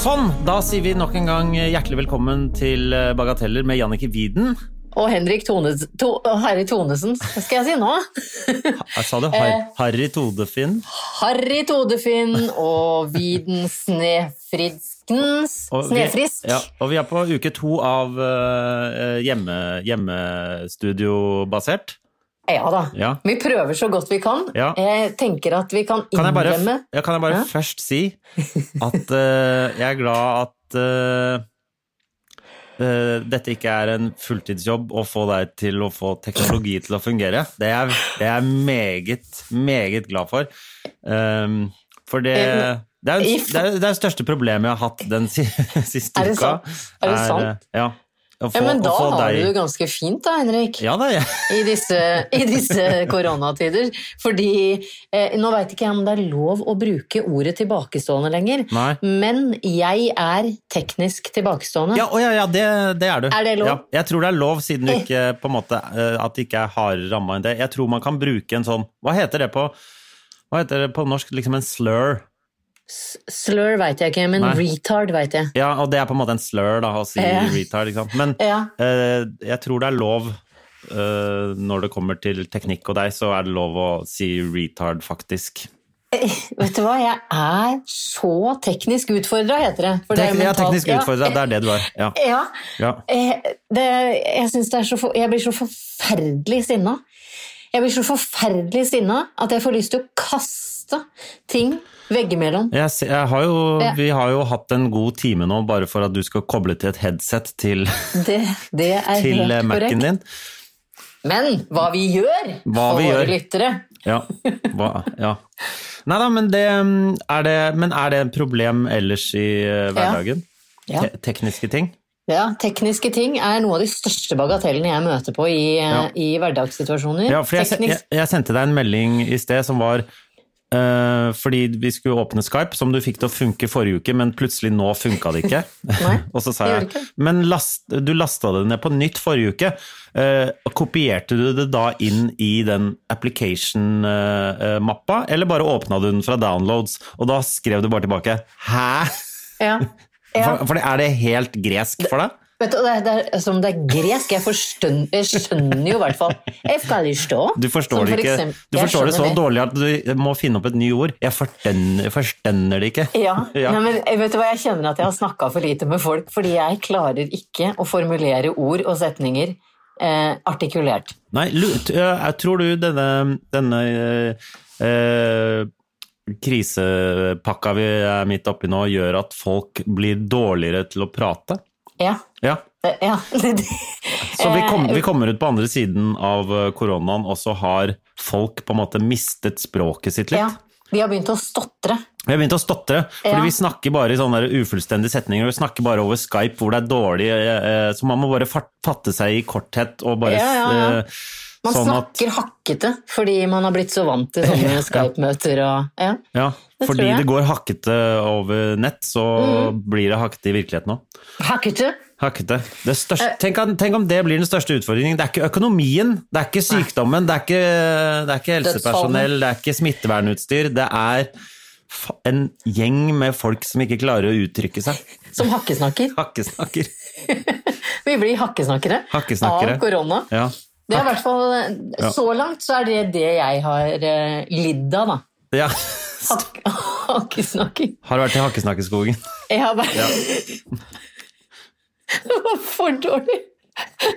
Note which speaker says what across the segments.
Speaker 1: Sånn, da sier vi nok en gang eh, hjertelig velkommen til eh, Bagateller med Jannicke Wieden.
Speaker 2: Og Henrik Tones, to, Harry Tonesen, hva skal jeg si nå?
Speaker 1: Jeg sa det, har, Harry Todefinn.
Speaker 2: Harry Todefinn og Widen Snefridskens
Speaker 1: Og vi-
Speaker 2: Snefrisk.
Speaker 1: Ja, og vi er på uke to av eh, hjemme, hjemmestudio-basert.
Speaker 2: Ja da.
Speaker 1: Ja.
Speaker 2: Vi prøver så godt vi kan.
Speaker 1: Ja.
Speaker 2: Jeg tenker at vi kan
Speaker 1: Kan jeg bare,
Speaker 2: innrømme
Speaker 1: ja, kan jeg bare
Speaker 2: Ja.
Speaker 1: først si at eh, jeg er glad at eh, eh, dette ikke er en fulltidsjobb å få deg til å få teknologi til å fungere. Det er jeg- det er jeg meget, meget glad for. Um, for det,
Speaker 2: Eh,
Speaker 1: det er jo
Speaker 2: If-
Speaker 1: det, er, det er største problemet jeg har hatt den si- siste
Speaker 2: Er det
Speaker 1: uka.
Speaker 2: sant? Er det
Speaker 1: eh,
Speaker 2: sant?
Speaker 1: Ja. Å
Speaker 2: ja,
Speaker 1: få-
Speaker 2: Men
Speaker 1: å
Speaker 2: da
Speaker 1: få
Speaker 2: har
Speaker 1: deg-
Speaker 2: du det ganske fint da, Henrik,
Speaker 1: Ja da, jeg,
Speaker 2: i disse, i disse koronatider. Fordi eh, nå veit ikke jeg om det er lov å bruke ordet tilbakestående lenger,
Speaker 1: Nei.
Speaker 2: men jeg er teknisk tilbakestående.
Speaker 1: Ja, å ja, ja det, det er du.
Speaker 2: Er det lov?
Speaker 1: Ja, jeg tror det er lov, siden du ikke på en måte, eh, at det ikke er hardere ramma enn det. Jeg tror man kan bruke en sånn Hva heter det på, hva heter det på norsk? Liksom en slur.
Speaker 2: Slur veit jeg ikke, men
Speaker 1: Nei.
Speaker 2: retard veit jeg.
Speaker 1: Ja, og det er på en måte en slur, da, å si
Speaker 2: Ja.
Speaker 1: retard, ikke sant. Men
Speaker 2: Ja.
Speaker 1: eh, jeg tror det er lov eh, når det kommer til teknikk og deg, så er det lov å si retard, faktisk.
Speaker 2: Vet du hva, jeg er så teknisk utfordra, heter det. For det er
Speaker 1: Tek, ja,
Speaker 2: mentalt-
Speaker 1: teknisk utfordra, det er det du er. Ja.
Speaker 2: Ja. ja.
Speaker 1: ja.
Speaker 2: Eh, Det, jeg, synes det er så, for- jeg blir så forferdelig sinna. Jeg blir så forferdelig sinna at jeg får lyst til å kaste ting veggimellom.
Speaker 1: Jeg, se- jeg har jo,
Speaker 2: Ja.
Speaker 1: Vi har jo hatt en god time nå bare for at du skal koble til et headset til
Speaker 2: Det, det er
Speaker 1: til eh,
Speaker 2: helt
Speaker 1: Mac-en
Speaker 2: korrekt.
Speaker 1: din.
Speaker 2: Men hva vi gjør
Speaker 1: Hva
Speaker 2: for
Speaker 1: vi
Speaker 2: våre
Speaker 1: gjør.
Speaker 2: lyttere
Speaker 1: Ja. Hva, ja. Nei da, men det, mm, er det Men er det en problem ellers i eh, hverdagen?
Speaker 2: Ja.
Speaker 1: Te tekniske ting?
Speaker 2: ja, Tekniske ting er noe av de største bagatellene jeg møter på i, eh,
Speaker 1: Ja.
Speaker 2: i hverdagssituasjoner.
Speaker 1: Ja, for jeg, se-
Speaker 2: Teknisk-
Speaker 1: jeg, jeg sendte deg en melding i sted som var eh, fordi vi skulle åpne Skype, som du fikk til å funke forrige uke, men plutselig nå funka det ikke.
Speaker 2: Nei,
Speaker 1: og så sa
Speaker 2: det
Speaker 1: jeg
Speaker 2: gjorde det ikke.
Speaker 1: Men last, du lasta det ned på nytt forrige uke. Eh, kopierte du det da inn i den application-mappa, eller bare åpna du den fra downloads? Og da skrev du bare tilbake 'hæ'?
Speaker 2: Ja. Ja.
Speaker 1: For, for det- er det helt gresk for deg?
Speaker 2: Vet du, det er, det er, som det er gresk, jeg, forstøn, jeg skjønner jo i hvert fall. Jeg skal ikke stå.
Speaker 1: Du forstår,
Speaker 2: Som for
Speaker 1: det, ikke,
Speaker 2: eksempel-
Speaker 1: du
Speaker 2: Jeg
Speaker 1: forstår det så
Speaker 2: skjønner
Speaker 1: dårlig at du må finne opp et nytt ord. Jeg forstønner, forstønner det ikke.
Speaker 2: Ja,
Speaker 1: Ja.
Speaker 2: Nei, men eh, vet du hva, jeg kjenner at jeg har snakka for lite med folk, fordi jeg klarer ikke å formulere ord og setninger eh, artikulert.
Speaker 1: Nei, lu- t- jeg tror du denne, denne eh, eh, krisepakka vi er midt oppi nå, gjør at folk blir dårligere til å prate?
Speaker 2: Ja.
Speaker 1: Ja.
Speaker 2: Eh, ja. eh,
Speaker 1: Så vi, kom, vi kommer ut på andre siden av eh, koronaen, og så har folk på en måte mistet språket sitt litt?
Speaker 2: ja. Vi har begynt å stotre.
Speaker 1: Vi har begynt å stotre, fordi
Speaker 2: Ja.
Speaker 1: vi snakker bare i sånne der ufullstendige setninger. og Vi snakker bare over Skype hvor det er dårlig, eh, eh, så man må bare fat- fatte seg i korthet og bare
Speaker 2: Ja, ja, ja.
Speaker 1: eh,
Speaker 2: Man
Speaker 1: sånn at
Speaker 2: snakker hakkete fordi man har blitt så vant til sånne Skype-møter og ja.
Speaker 1: ja,
Speaker 2: Det tror
Speaker 1: Fordi
Speaker 2: jeg. Mm.
Speaker 1: det går hakkete over nett, så blir det hakkete i virkeligheten òg.
Speaker 2: Hakkete!
Speaker 1: Hakkete. Det
Speaker 2: Eh.
Speaker 1: største, tenk, om- tenk om det blir den største utfordringen. Det er ikke økonomien, det er ikke sykdommen, det er ikke, det er ikke helsepersonell, det er ikke smittevernutstyr. Det er fa- en gjeng med folk som ikke klarer å uttrykke seg.
Speaker 2: Som hakkesnakker.
Speaker 1: Hakkesnakker.
Speaker 2: Vi blir hakkesnakkere,
Speaker 1: Hakkesnakkere.
Speaker 2: av korona.
Speaker 1: Ja.
Speaker 2: Det er i hvert fall,
Speaker 1: Ja.
Speaker 2: Så langt så er det det jeg har eh, lidd av, da.
Speaker 1: ja.
Speaker 2: Hak- Hakkesnakking.
Speaker 1: Har vært i Hakkesnakkeskogen.
Speaker 2: Jeg har bare Det var for dårlig.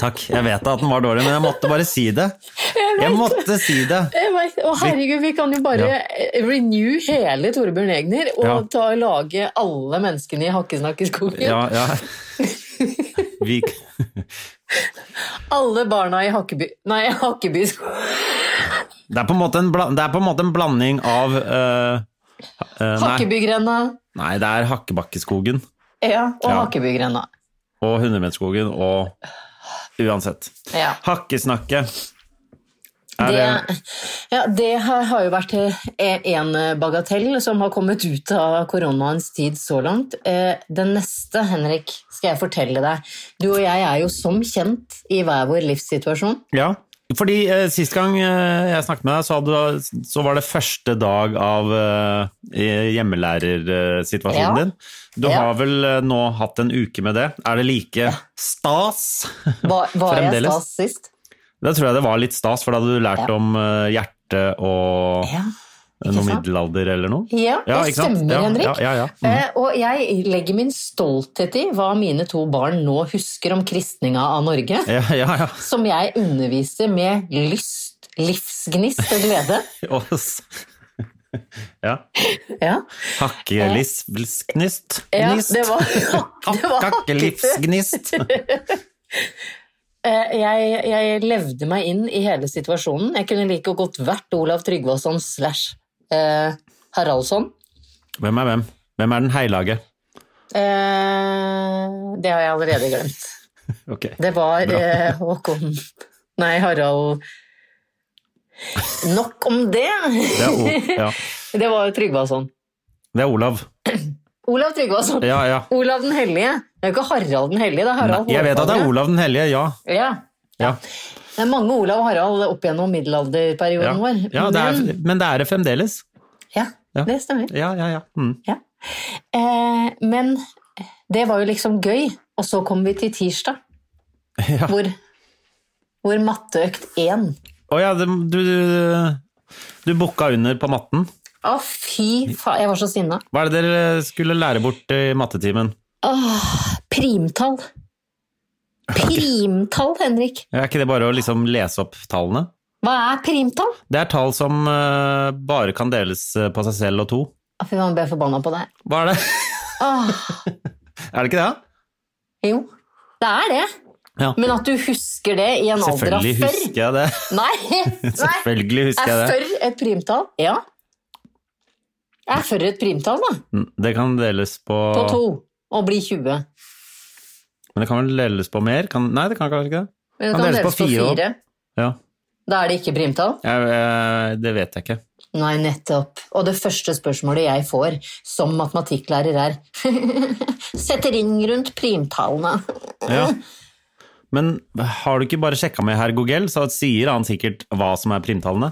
Speaker 1: Takk. Jeg vet at den var dårlig, men jeg måtte bare si det. Jeg måtte si det.
Speaker 2: Jeg vet, å herregud, vi kan jo bare
Speaker 1: Ja.
Speaker 2: eh, renew hele Torbjørn Egner og
Speaker 1: Ja.
Speaker 2: ta og lage alle menneskene i Hakkesnakkeskogen.
Speaker 1: Ja, ja. Vi,
Speaker 2: alle barna i Hakkeby Nei, Hakkeby sko-
Speaker 1: Det er på en måte en, bla, det er på en, måte en blanding av eh, eh, nei,
Speaker 2: Hakkebygrenda.
Speaker 1: nei, det er Hakkebakkeskogen
Speaker 2: Ja, og
Speaker 1: Ja.
Speaker 2: Hakkebygrenda.
Speaker 1: og Hundemeterskogen og Uansett.
Speaker 2: Ja.
Speaker 1: Hakkesnakke. Er det,
Speaker 2: Det, ja, det her har jo vært eh, en bagatell som har kommet ut av koronaens tid så langt. Eh, Den neste, Henrik, skal jeg fortelle deg. Du og jeg er jo som kjent i hver vår livssituasjon.
Speaker 1: Ja, fordi eh, sist gang eh, jeg snakket med deg, så, hadde, du- så var det første dag av eh, hjemmelærersituasjonen
Speaker 2: Ja.
Speaker 1: din. Du
Speaker 2: Ja.
Speaker 1: har vel eh, nå hatt en uke med det. Er det like stas?
Speaker 2: Var, var jeg
Speaker 1: Fremdeles.
Speaker 2: stas sist?
Speaker 1: Da tror jeg det var litt stas, for da hadde du lært
Speaker 2: Ja.
Speaker 1: om eh, hjerte og
Speaker 2: Ja.
Speaker 1: noe
Speaker 2: sant?
Speaker 1: middelalder eller noe.
Speaker 2: Ja, det
Speaker 1: ikke sant?
Speaker 2: stemmer,
Speaker 1: ja,
Speaker 2: Henrik.
Speaker 1: Ja, ja, ja. Mm.
Speaker 2: Eh, Og jeg legger min stolthet i hva mine to barn nå husker om kristninga av Norge.
Speaker 1: Ja, ja, ja.
Speaker 2: Som jeg underviser med lyst, livsgnist og glede.
Speaker 1: Og s- ja.
Speaker 2: Ja,
Speaker 1: Hakkelivsgnist.
Speaker 2: ja det var, det var
Speaker 1: Hakkelivsgnist.
Speaker 2: Eh, Jeg, jeg levde meg inn i hele situasjonen. Jeg kunne like godt vært Olav Tryggvason slash eh, Haraldsson.
Speaker 1: Hvem er hvem? Hvem er den heilage?
Speaker 2: Eh, det har jeg allerede glemt.
Speaker 1: Ok.
Speaker 2: Det var
Speaker 1: Bra.
Speaker 2: eh, Håkon Nei, Harald Nok om det!
Speaker 1: Det er, o ja.
Speaker 2: Det var Tryggvason.
Speaker 1: det er Olav.
Speaker 2: Olav Tryggvason.
Speaker 1: Ja, ja.
Speaker 2: Olav den hellige. Det er jo ikke Harald den hellige, det er Harald
Speaker 1: Nei, jeg vet at det er
Speaker 2: Hårfagre.
Speaker 1: Olav den hellige, ja.
Speaker 2: Ja.
Speaker 1: Ja,
Speaker 2: Det er mange Olav og Harald opp gjennom middelalderperioden
Speaker 1: ja.
Speaker 2: vår.
Speaker 1: ja det er,
Speaker 2: Men-
Speaker 1: men det er det fremdeles.
Speaker 2: ja,
Speaker 1: Ja.
Speaker 2: det stemmer.
Speaker 1: Ja, ja, ja. Mm.
Speaker 2: Ja. Eh, men det var jo liksom gøy. Og så kom vi til tirsdag,
Speaker 1: Ja.
Speaker 2: hvor, hvor matteøkt én
Speaker 1: Å ja, det, du, du booka under på matten.
Speaker 2: Å, fy faen, jeg var så sinna.
Speaker 1: Hva er det dere skulle lære bort i mattetimen?
Speaker 2: Åh, primtall. Primtall, Henrik.
Speaker 1: Er ikke det bare å liksom lese opp tallene?
Speaker 2: Hva er primtall?
Speaker 1: Det er tall som eh, bare kan deles eh, på seg selv og to.
Speaker 2: Å, Fy faen, ble jeg forbanna på deg.
Speaker 1: Hva er det?
Speaker 2: Åh,
Speaker 1: Er det ikke det?
Speaker 2: jo, det er det.
Speaker 1: Ja.
Speaker 2: Men at du husker det i en alder av
Speaker 1: Selvfølgelig
Speaker 2: før
Speaker 1: husker jeg det.
Speaker 2: Nei! nei.
Speaker 1: Selvfølgelig husker
Speaker 2: Er
Speaker 1: jeg det.
Speaker 2: før et primtall? Ja. Er før et primtall, da.
Speaker 1: Mm, Det kan deles på,
Speaker 2: på to og bli 20. Men
Speaker 1: Men det kan vel deles på mer? Kan, nei, det kan kanskje ikke det.
Speaker 2: det
Speaker 1: Kan
Speaker 2: kan
Speaker 1: deles
Speaker 2: deles
Speaker 1: på
Speaker 2: på
Speaker 1: fire også.
Speaker 2: fire.
Speaker 1: Ja,
Speaker 2: Da er det ikke primtall?
Speaker 1: jeg, jeg, Det vet jeg ikke.
Speaker 2: Nei, nettopp. Og det første spørsmålet jeg får som matematikklærer er Sett ring rundt primtallene.
Speaker 1: Ja. Men har du ikke bare sjekka med herr Gogel, så sier han sikkert hva som er primtallene?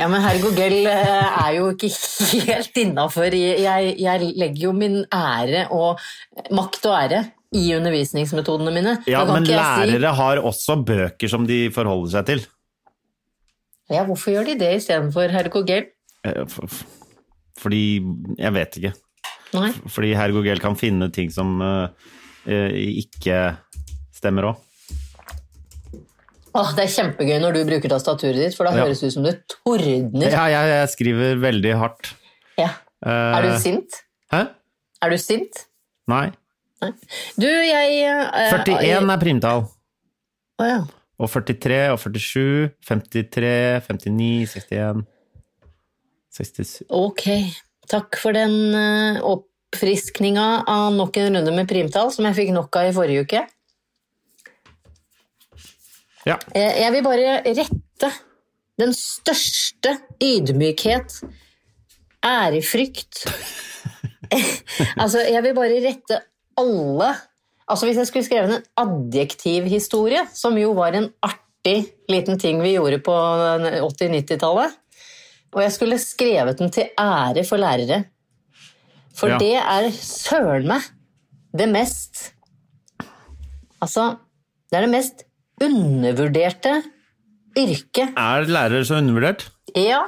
Speaker 2: Ja, men herregud, Gell eh, er jo ikke helt innafor. Jeg, jeg legger jo min ære og makt og ære i undervisningsmetodene mine.
Speaker 1: Ja,
Speaker 2: Da kan
Speaker 1: men
Speaker 2: ikke jeg si-
Speaker 1: lærere har også bøker som de forholder seg til.
Speaker 2: Ja, hvorfor gjør de det istedenfor herregud?
Speaker 1: Eh, f- f- Fordi Jeg vet ikke.
Speaker 2: Nei.
Speaker 1: Fordi herr Gogel kan finne ting som eh, eh, ikke stemmer òg.
Speaker 2: Åh, det er kjempegøy når du bruker tastaturet ditt, for da
Speaker 1: Ja.
Speaker 2: høres det ut som du tordner.
Speaker 1: Ja, jeg, jeg skriver veldig hardt.
Speaker 2: Ja. Er du
Speaker 1: Eh,
Speaker 2: sint?
Speaker 1: Hæ?
Speaker 2: Er du sint?
Speaker 1: Nei.
Speaker 2: Du, jeg eh,
Speaker 1: 41 er primtall.
Speaker 2: Å ja.
Speaker 1: Og 43 og 47, 53, 59, 61 67
Speaker 2: Ok. Takk for den eh, opp... oppfriskninga av nok en runde med primtall, som jeg fikk nok av i forrige uke.
Speaker 1: Ja.
Speaker 2: Eh, Jeg vil bare rette den største ydmykhet, ærefrykt Altså, jeg vil bare rette alle Altså, hvis jeg skulle skrevet en adjektivhistorie, som jo var en artig liten ting vi gjorde på 80-90-tallet Og jeg skulle skrevet den til ære for lærere. For
Speaker 1: Ja.
Speaker 2: det er søren meg det mest Altså, det er det mest undervurderte yrket.
Speaker 1: Er lærere så undervurdert?
Speaker 2: Ja.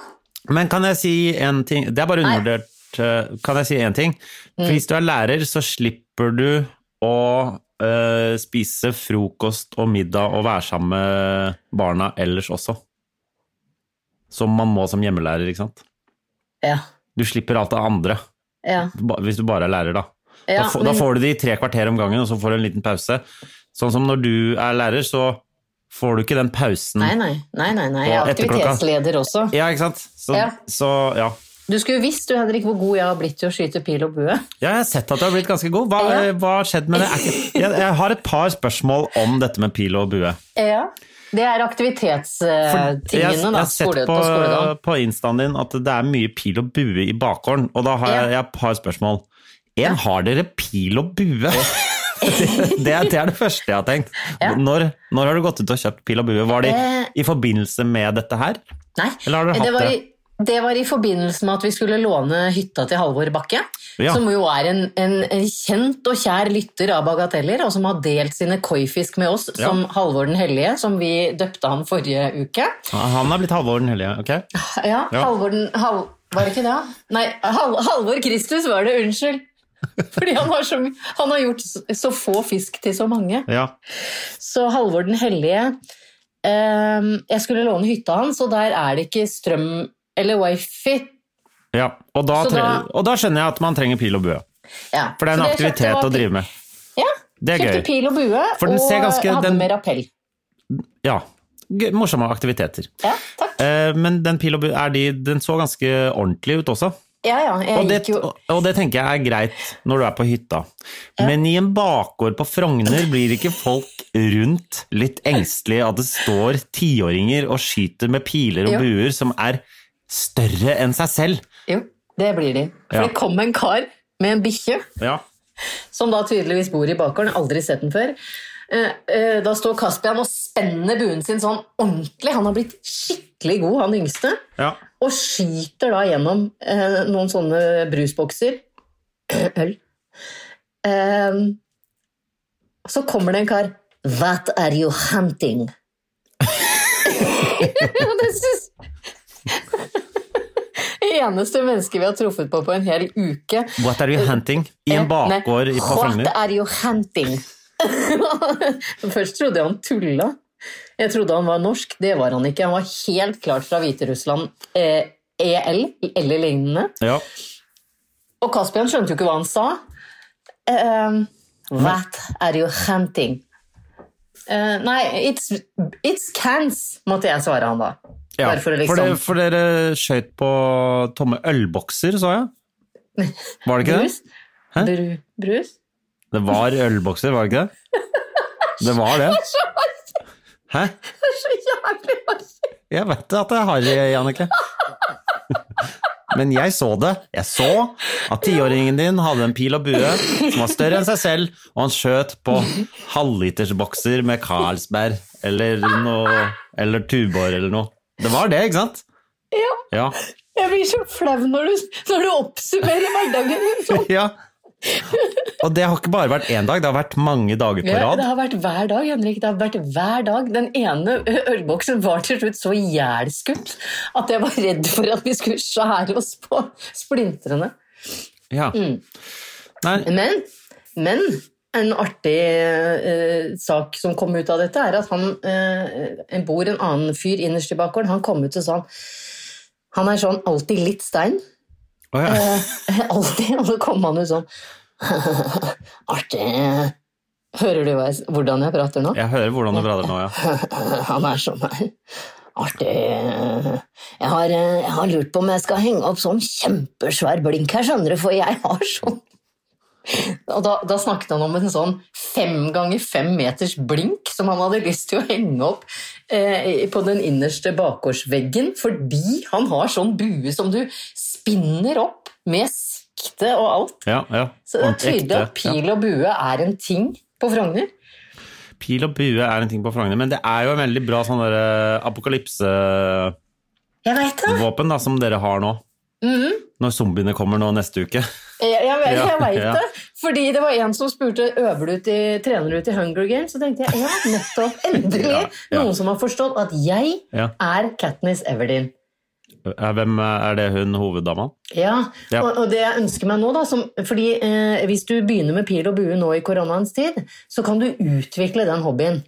Speaker 1: Men kan jeg si en ting? Det er bare undervurdert. eh, Kan jeg si en ting? For Hvis du er lærer, så slipper du å eh, spise frokost og middag og være sammen med barna ellers også. Som man må som hjemmelærer, ikke sant?
Speaker 2: Ja.
Speaker 1: Du slipper alt det andre,
Speaker 2: ja.
Speaker 1: ba- hvis du bare er lærer, da.
Speaker 2: Ja,
Speaker 1: da, få- da
Speaker 2: men-
Speaker 1: får du de i tre kvarter om gangen, og så får du en liten pause. Sånn som når du er lærer, så får du ikke den pausen.
Speaker 2: Nei, nei. nei, nei, nei. Jeg
Speaker 1: Og
Speaker 2: er
Speaker 1: etter klokka.
Speaker 2: aktivitetsleder også.
Speaker 1: Ja, ikke sant? Så
Speaker 2: Ja.
Speaker 1: ja. så ja.
Speaker 2: Du skulle visst, du, Henrik, hvor god jeg har blitt til å skyte pil og bue.
Speaker 1: Ja, jeg har sett at du har blitt ganske god. Hva
Speaker 2: Ja.
Speaker 1: eh, hva har skjedd med det? Er ikke- Jeg, jeg har et par spørsmål om dette med pil og bue.
Speaker 2: Ja. Det er
Speaker 1: For jeg, jeg
Speaker 2: aktivitetstingene, da.
Speaker 1: har sett
Speaker 2: Skole,
Speaker 1: på,
Speaker 2: på skoledagen.
Speaker 1: på instaen din at det er mye pil og bue i bakgården, og da har
Speaker 2: Ja.
Speaker 1: jeg, jeg har et par spørsmål. En, har dere pil og bue? Det, det, er, det er det første jeg har tenkt.
Speaker 2: Ja.
Speaker 1: Når, når har du gått ut og kjøpt pil og bue? Var det
Speaker 2: Eh.
Speaker 1: i forbindelse med dette her?
Speaker 2: Nei. Eh,
Speaker 1: Eller har dere
Speaker 2: det
Speaker 1: hatt
Speaker 2: var
Speaker 1: det?
Speaker 2: i- det var i forbindelse med at vi skulle låne hytta til Halvor Bakke,
Speaker 1: Ja.
Speaker 2: som jo er en, en, en kjent og kjær lytter av bagateller, og som har delt sine koifisk med oss
Speaker 1: Ja.
Speaker 2: som Halvor den hellige, som vi døpte ham forrige uke.
Speaker 1: Han er blitt Halvor den hellige, ok?
Speaker 2: Ja,
Speaker 1: Ja.
Speaker 2: Halvor den Hal, Var det ikke det? Nei, Hal, Halvor Kristus var det, unnskyld. Fordi han har, så, my- han har gjort så- så få fisk til så mange.
Speaker 1: Ja.
Speaker 2: Så Halvor den hellige ehm, Jeg skulle låne hytta hans, og der er det ikke strøm eller wifi.
Speaker 1: ja. Og, da,
Speaker 2: Så
Speaker 1: tre,
Speaker 2: da-
Speaker 1: og da skjønner jeg at man trenger pil og bue.
Speaker 2: Ja.
Speaker 1: For det er en
Speaker 2: Så jeg
Speaker 1: aktivitet
Speaker 2: kjøpte-
Speaker 1: å drive med.
Speaker 2: Ja.
Speaker 1: Det er
Speaker 2: kjøpte
Speaker 1: gøy.
Speaker 2: pil og bue
Speaker 1: For den
Speaker 2: og
Speaker 1: ser ganske-
Speaker 2: hadde
Speaker 1: den-
Speaker 2: med rappell.
Speaker 1: Ja. Gøy, morsomme aktiviteter.
Speaker 2: Ja, takk.
Speaker 1: Eh, Men den pil og bue, er de, den så ganske ordentlig ut også.
Speaker 2: Ja, ja. Jeg
Speaker 1: Og det,
Speaker 2: gikk jo
Speaker 1: og det tenker jeg er greit når du er på hytta. Men i en bakgård på Frogner blir ikke folk rundt litt engstelige at det står tiåringer og skyter med piler og
Speaker 2: Jo.
Speaker 1: buer som er større enn seg selv.
Speaker 2: Jo, det blir de. For
Speaker 1: Ja.
Speaker 2: det kom en kar med en bikkje.
Speaker 1: Ja.
Speaker 2: som da tydeligvis bor i bakgården, aldri sett den før. Eh, eh, Da står Caspian og spenner buen sin sånn ordentlig. Han har blitt skikkelig god, han yngste.
Speaker 1: Ja.
Speaker 2: Og skyter da gjennom eh, noen sånne brusbokser. Øl. Eh, Så kommer det en kar. What are you hunting? Og det synes Eneste menneske vi har truffet på på en hel uke.
Speaker 1: What are you hunting? I
Speaker 2: Eh,
Speaker 1: en bakgård i- på
Speaker 2: What
Speaker 1: Frogner.
Speaker 2: are you hunting? Først trodde jeg han tulla. Jeg trodde han var norsk, det var han ikke. Han var helt klart fra Hviterussland eh, EL eller lignende.
Speaker 1: Ja.
Speaker 2: Og Caspian skjønte jo ikke hva han sa. Um, what are you hunting? Eh, nei, it's, it's cans, måtte jeg svare han da.
Speaker 1: Ja.
Speaker 2: Bare for å liksom
Speaker 1: det- for dere skøyt på tomme ølbokser, sa jeg. Var det ikke det?
Speaker 2: Brus? Bru, brus?
Speaker 1: Det var ølbokser, var det ikke det? Det var det. Hæ?
Speaker 2: Det er så jævlig artig!
Speaker 1: Jeg vet at det er harry, Jannicke. Men jeg så det. Jeg så at tiåringen din hadde en pil og bue som var større enn seg selv, og han skjøt på halvlitersbokser med Carlsberg eller noe Eller Tuborg eller noe. Det var det, ikke sant?
Speaker 2: Ja.
Speaker 1: Ja.
Speaker 2: Jeg blir så flau når du, når du oppsummerer hverdagen din sånn.
Speaker 1: ja. Og det har ikke bare vært én dag, det har vært mange dager på
Speaker 2: Ja,
Speaker 1: rad.
Speaker 2: det har vært hver dag, Henrik. Det har vært hver dag. Den ene ø- ølboksen var til slutt så ihjelskutt at jeg var redd for at vi skulle skjære oss på splintrene.
Speaker 1: Ja.
Speaker 2: Mm.
Speaker 1: Nei,
Speaker 2: Men, men en artig eh, sak som kom ut av dette, er at han eh, en bor en annen fyr innerst i bakgården. Han kom ut og sa han, han er sånn alltid litt stein.
Speaker 1: å ja.
Speaker 2: Eh, Alltid. Og så kom han ut sånn Artig. Hører du hva jeg, hvordan jeg prater nå?
Speaker 1: Jeg hører hvordan du prater nå, ja.
Speaker 2: Han er sånn her. Artig. Jeg har, eh, jeg har lurt på om jeg skal henge opp sånn kjempesvær blink her, skjønner du, for jeg har sånn Og da, da snakket han om en sånn fem ganger fem meters blink som han hadde lyst til å henge opp eh, på den innerste bakgårdsveggen, fordi han har sånn bue som du spinner opp med sikte og alt.
Speaker 1: Ja, ja.
Speaker 2: Så det er
Speaker 1: Ordentlig
Speaker 2: tydelig
Speaker 1: ekte,
Speaker 2: at
Speaker 1: ja.
Speaker 2: pil og bue er en ting på Frogner.
Speaker 1: Pil og bue er en ting på Frogner, men det er jo en veldig bra sånn derre apokalypsevåpen
Speaker 2: Jeg veit det!
Speaker 1: da, som dere har nå.
Speaker 2: Mhm.
Speaker 1: Når zombiene kommer nå neste uke.
Speaker 2: Jeg, jeg, jeg,
Speaker 1: Ja,
Speaker 2: vet
Speaker 1: ja.
Speaker 2: det. Fordi det var en som spurte øver du til, trener du til Hunger Games. Så tenkte jeg ja, nettopp. Endelig!
Speaker 1: Ja, ja.
Speaker 2: Noen som har forstått at jeg
Speaker 1: Ja.
Speaker 2: er Katniss Everdeen.
Speaker 1: Eh, Hvem er det hun hoveddama?
Speaker 2: Ja,
Speaker 1: Ja.
Speaker 2: Og, og det jeg ønsker meg nå, da som, Fordi eh, hvis du begynner med pil og bue nå i koronaens tid, så kan du utvikle den hobbyen.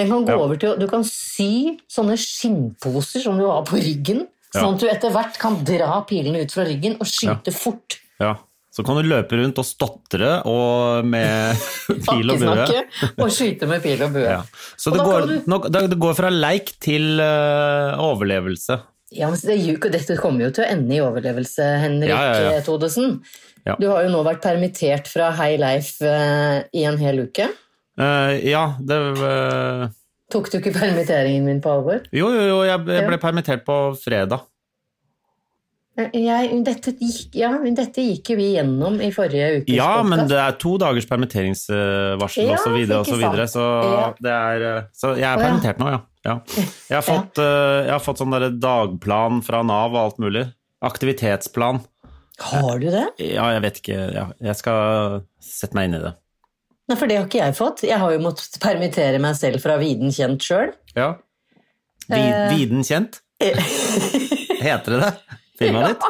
Speaker 2: Den kan gå
Speaker 1: Ja.
Speaker 2: over til, å- Du kan sy sånne skinnposer som du har på ryggen,
Speaker 1: Ja.
Speaker 2: sånn at du etter hvert kan dra pilene ut fra ryggen og skyte fort.
Speaker 1: Ja. Så kan du løpe rundt og stotre og med pil og bue.
Speaker 2: Bakkesnakke og skyte med pil og bue.
Speaker 1: Ja. Så
Speaker 2: Og
Speaker 1: det
Speaker 2: da
Speaker 1: går,
Speaker 2: kan du-
Speaker 1: nå- da- det går fra leik til eh, overlevelse.
Speaker 2: Ja, men det, er jo ikke- Dette kommer jo til å ende i overlevelse, Henrik
Speaker 1: Ja, ja, ja.
Speaker 2: Thodesen.
Speaker 1: Ja.
Speaker 2: Du har jo nå vært permittert fra Hei Leif eh, i en hel uke.
Speaker 1: Eh, ja, det eh,
Speaker 2: Tok du ikke permitteringen min på alvor?
Speaker 1: Jo, jo, jo, jeg, jeg ble
Speaker 2: Ja.
Speaker 1: permittert på fredag.
Speaker 2: Jeg, dette, gikk, ja, men dette gikk jo vi gjennom i forrige ukes
Speaker 1: Ja,
Speaker 2: podcast.
Speaker 1: men det er to dagers permitteringsvarsel
Speaker 2: Ja,
Speaker 1: og så videre, og så,
Speaker 2: ikke
Speaker 1: videre
Speaker 2: sant.
Speaker 1: så,
Speaker 2: Ja.
Speaker 1: det er, eh, så jeg er
Speaker 2: Å, ja.
Speaker 1: permittert nå, ja. ja. Jeg har fått, eh, jeg har fått sånn derre dagplan fra Nav og alt mulig. Aktivitetsplan.
Speaker 2: Har du det?
Speaker 1: Ja, jeg vet ikke. Ja, jeg skal sette meg inn i det.
Speaker 2: Nei, for det har ikke jeg fått. Jeg har jo måttet permittere meg selv fra viden kjent sjøl.
Speaker 1: Ja. Vi,
Speaker 2: Eh.
Speaker 1: viden kjent? Heter det det? Firmaet ditt?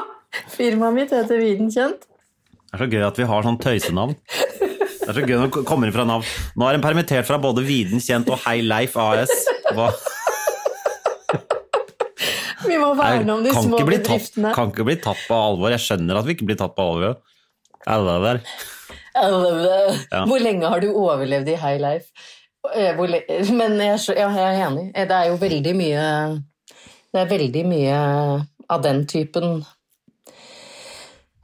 Speaker 2: Firmaet mitt heter Viden kjent.
Speaker 1: Det er så gøy at vi har sånn tøysenavn. Det er så gøy når det kommer inn fra Nav. Nå er en permittert fra både Viden kjent og Hei Leif AS. Hva?
Speaker 2: Vi må
Speaker 1: Nei,
Speaker 2: verne om de
Speaker 1: kan
Speaker 2: små
Speaker 1: ikke bli tatt,
Speaker 2: bedriftene.
Speaker 1: Kan ikke bli tatt på alvor. Jeg skjønner at vi ikke blir tatt på alvor. Alle der. Ja.
Speaker 2: Hvor lenge har du overlevd i High Life? Eh, hvor le- Men jeg, skjø- ja, jeg er enig. Eh, Det er jo veldig mye Det er veldig mye av den typen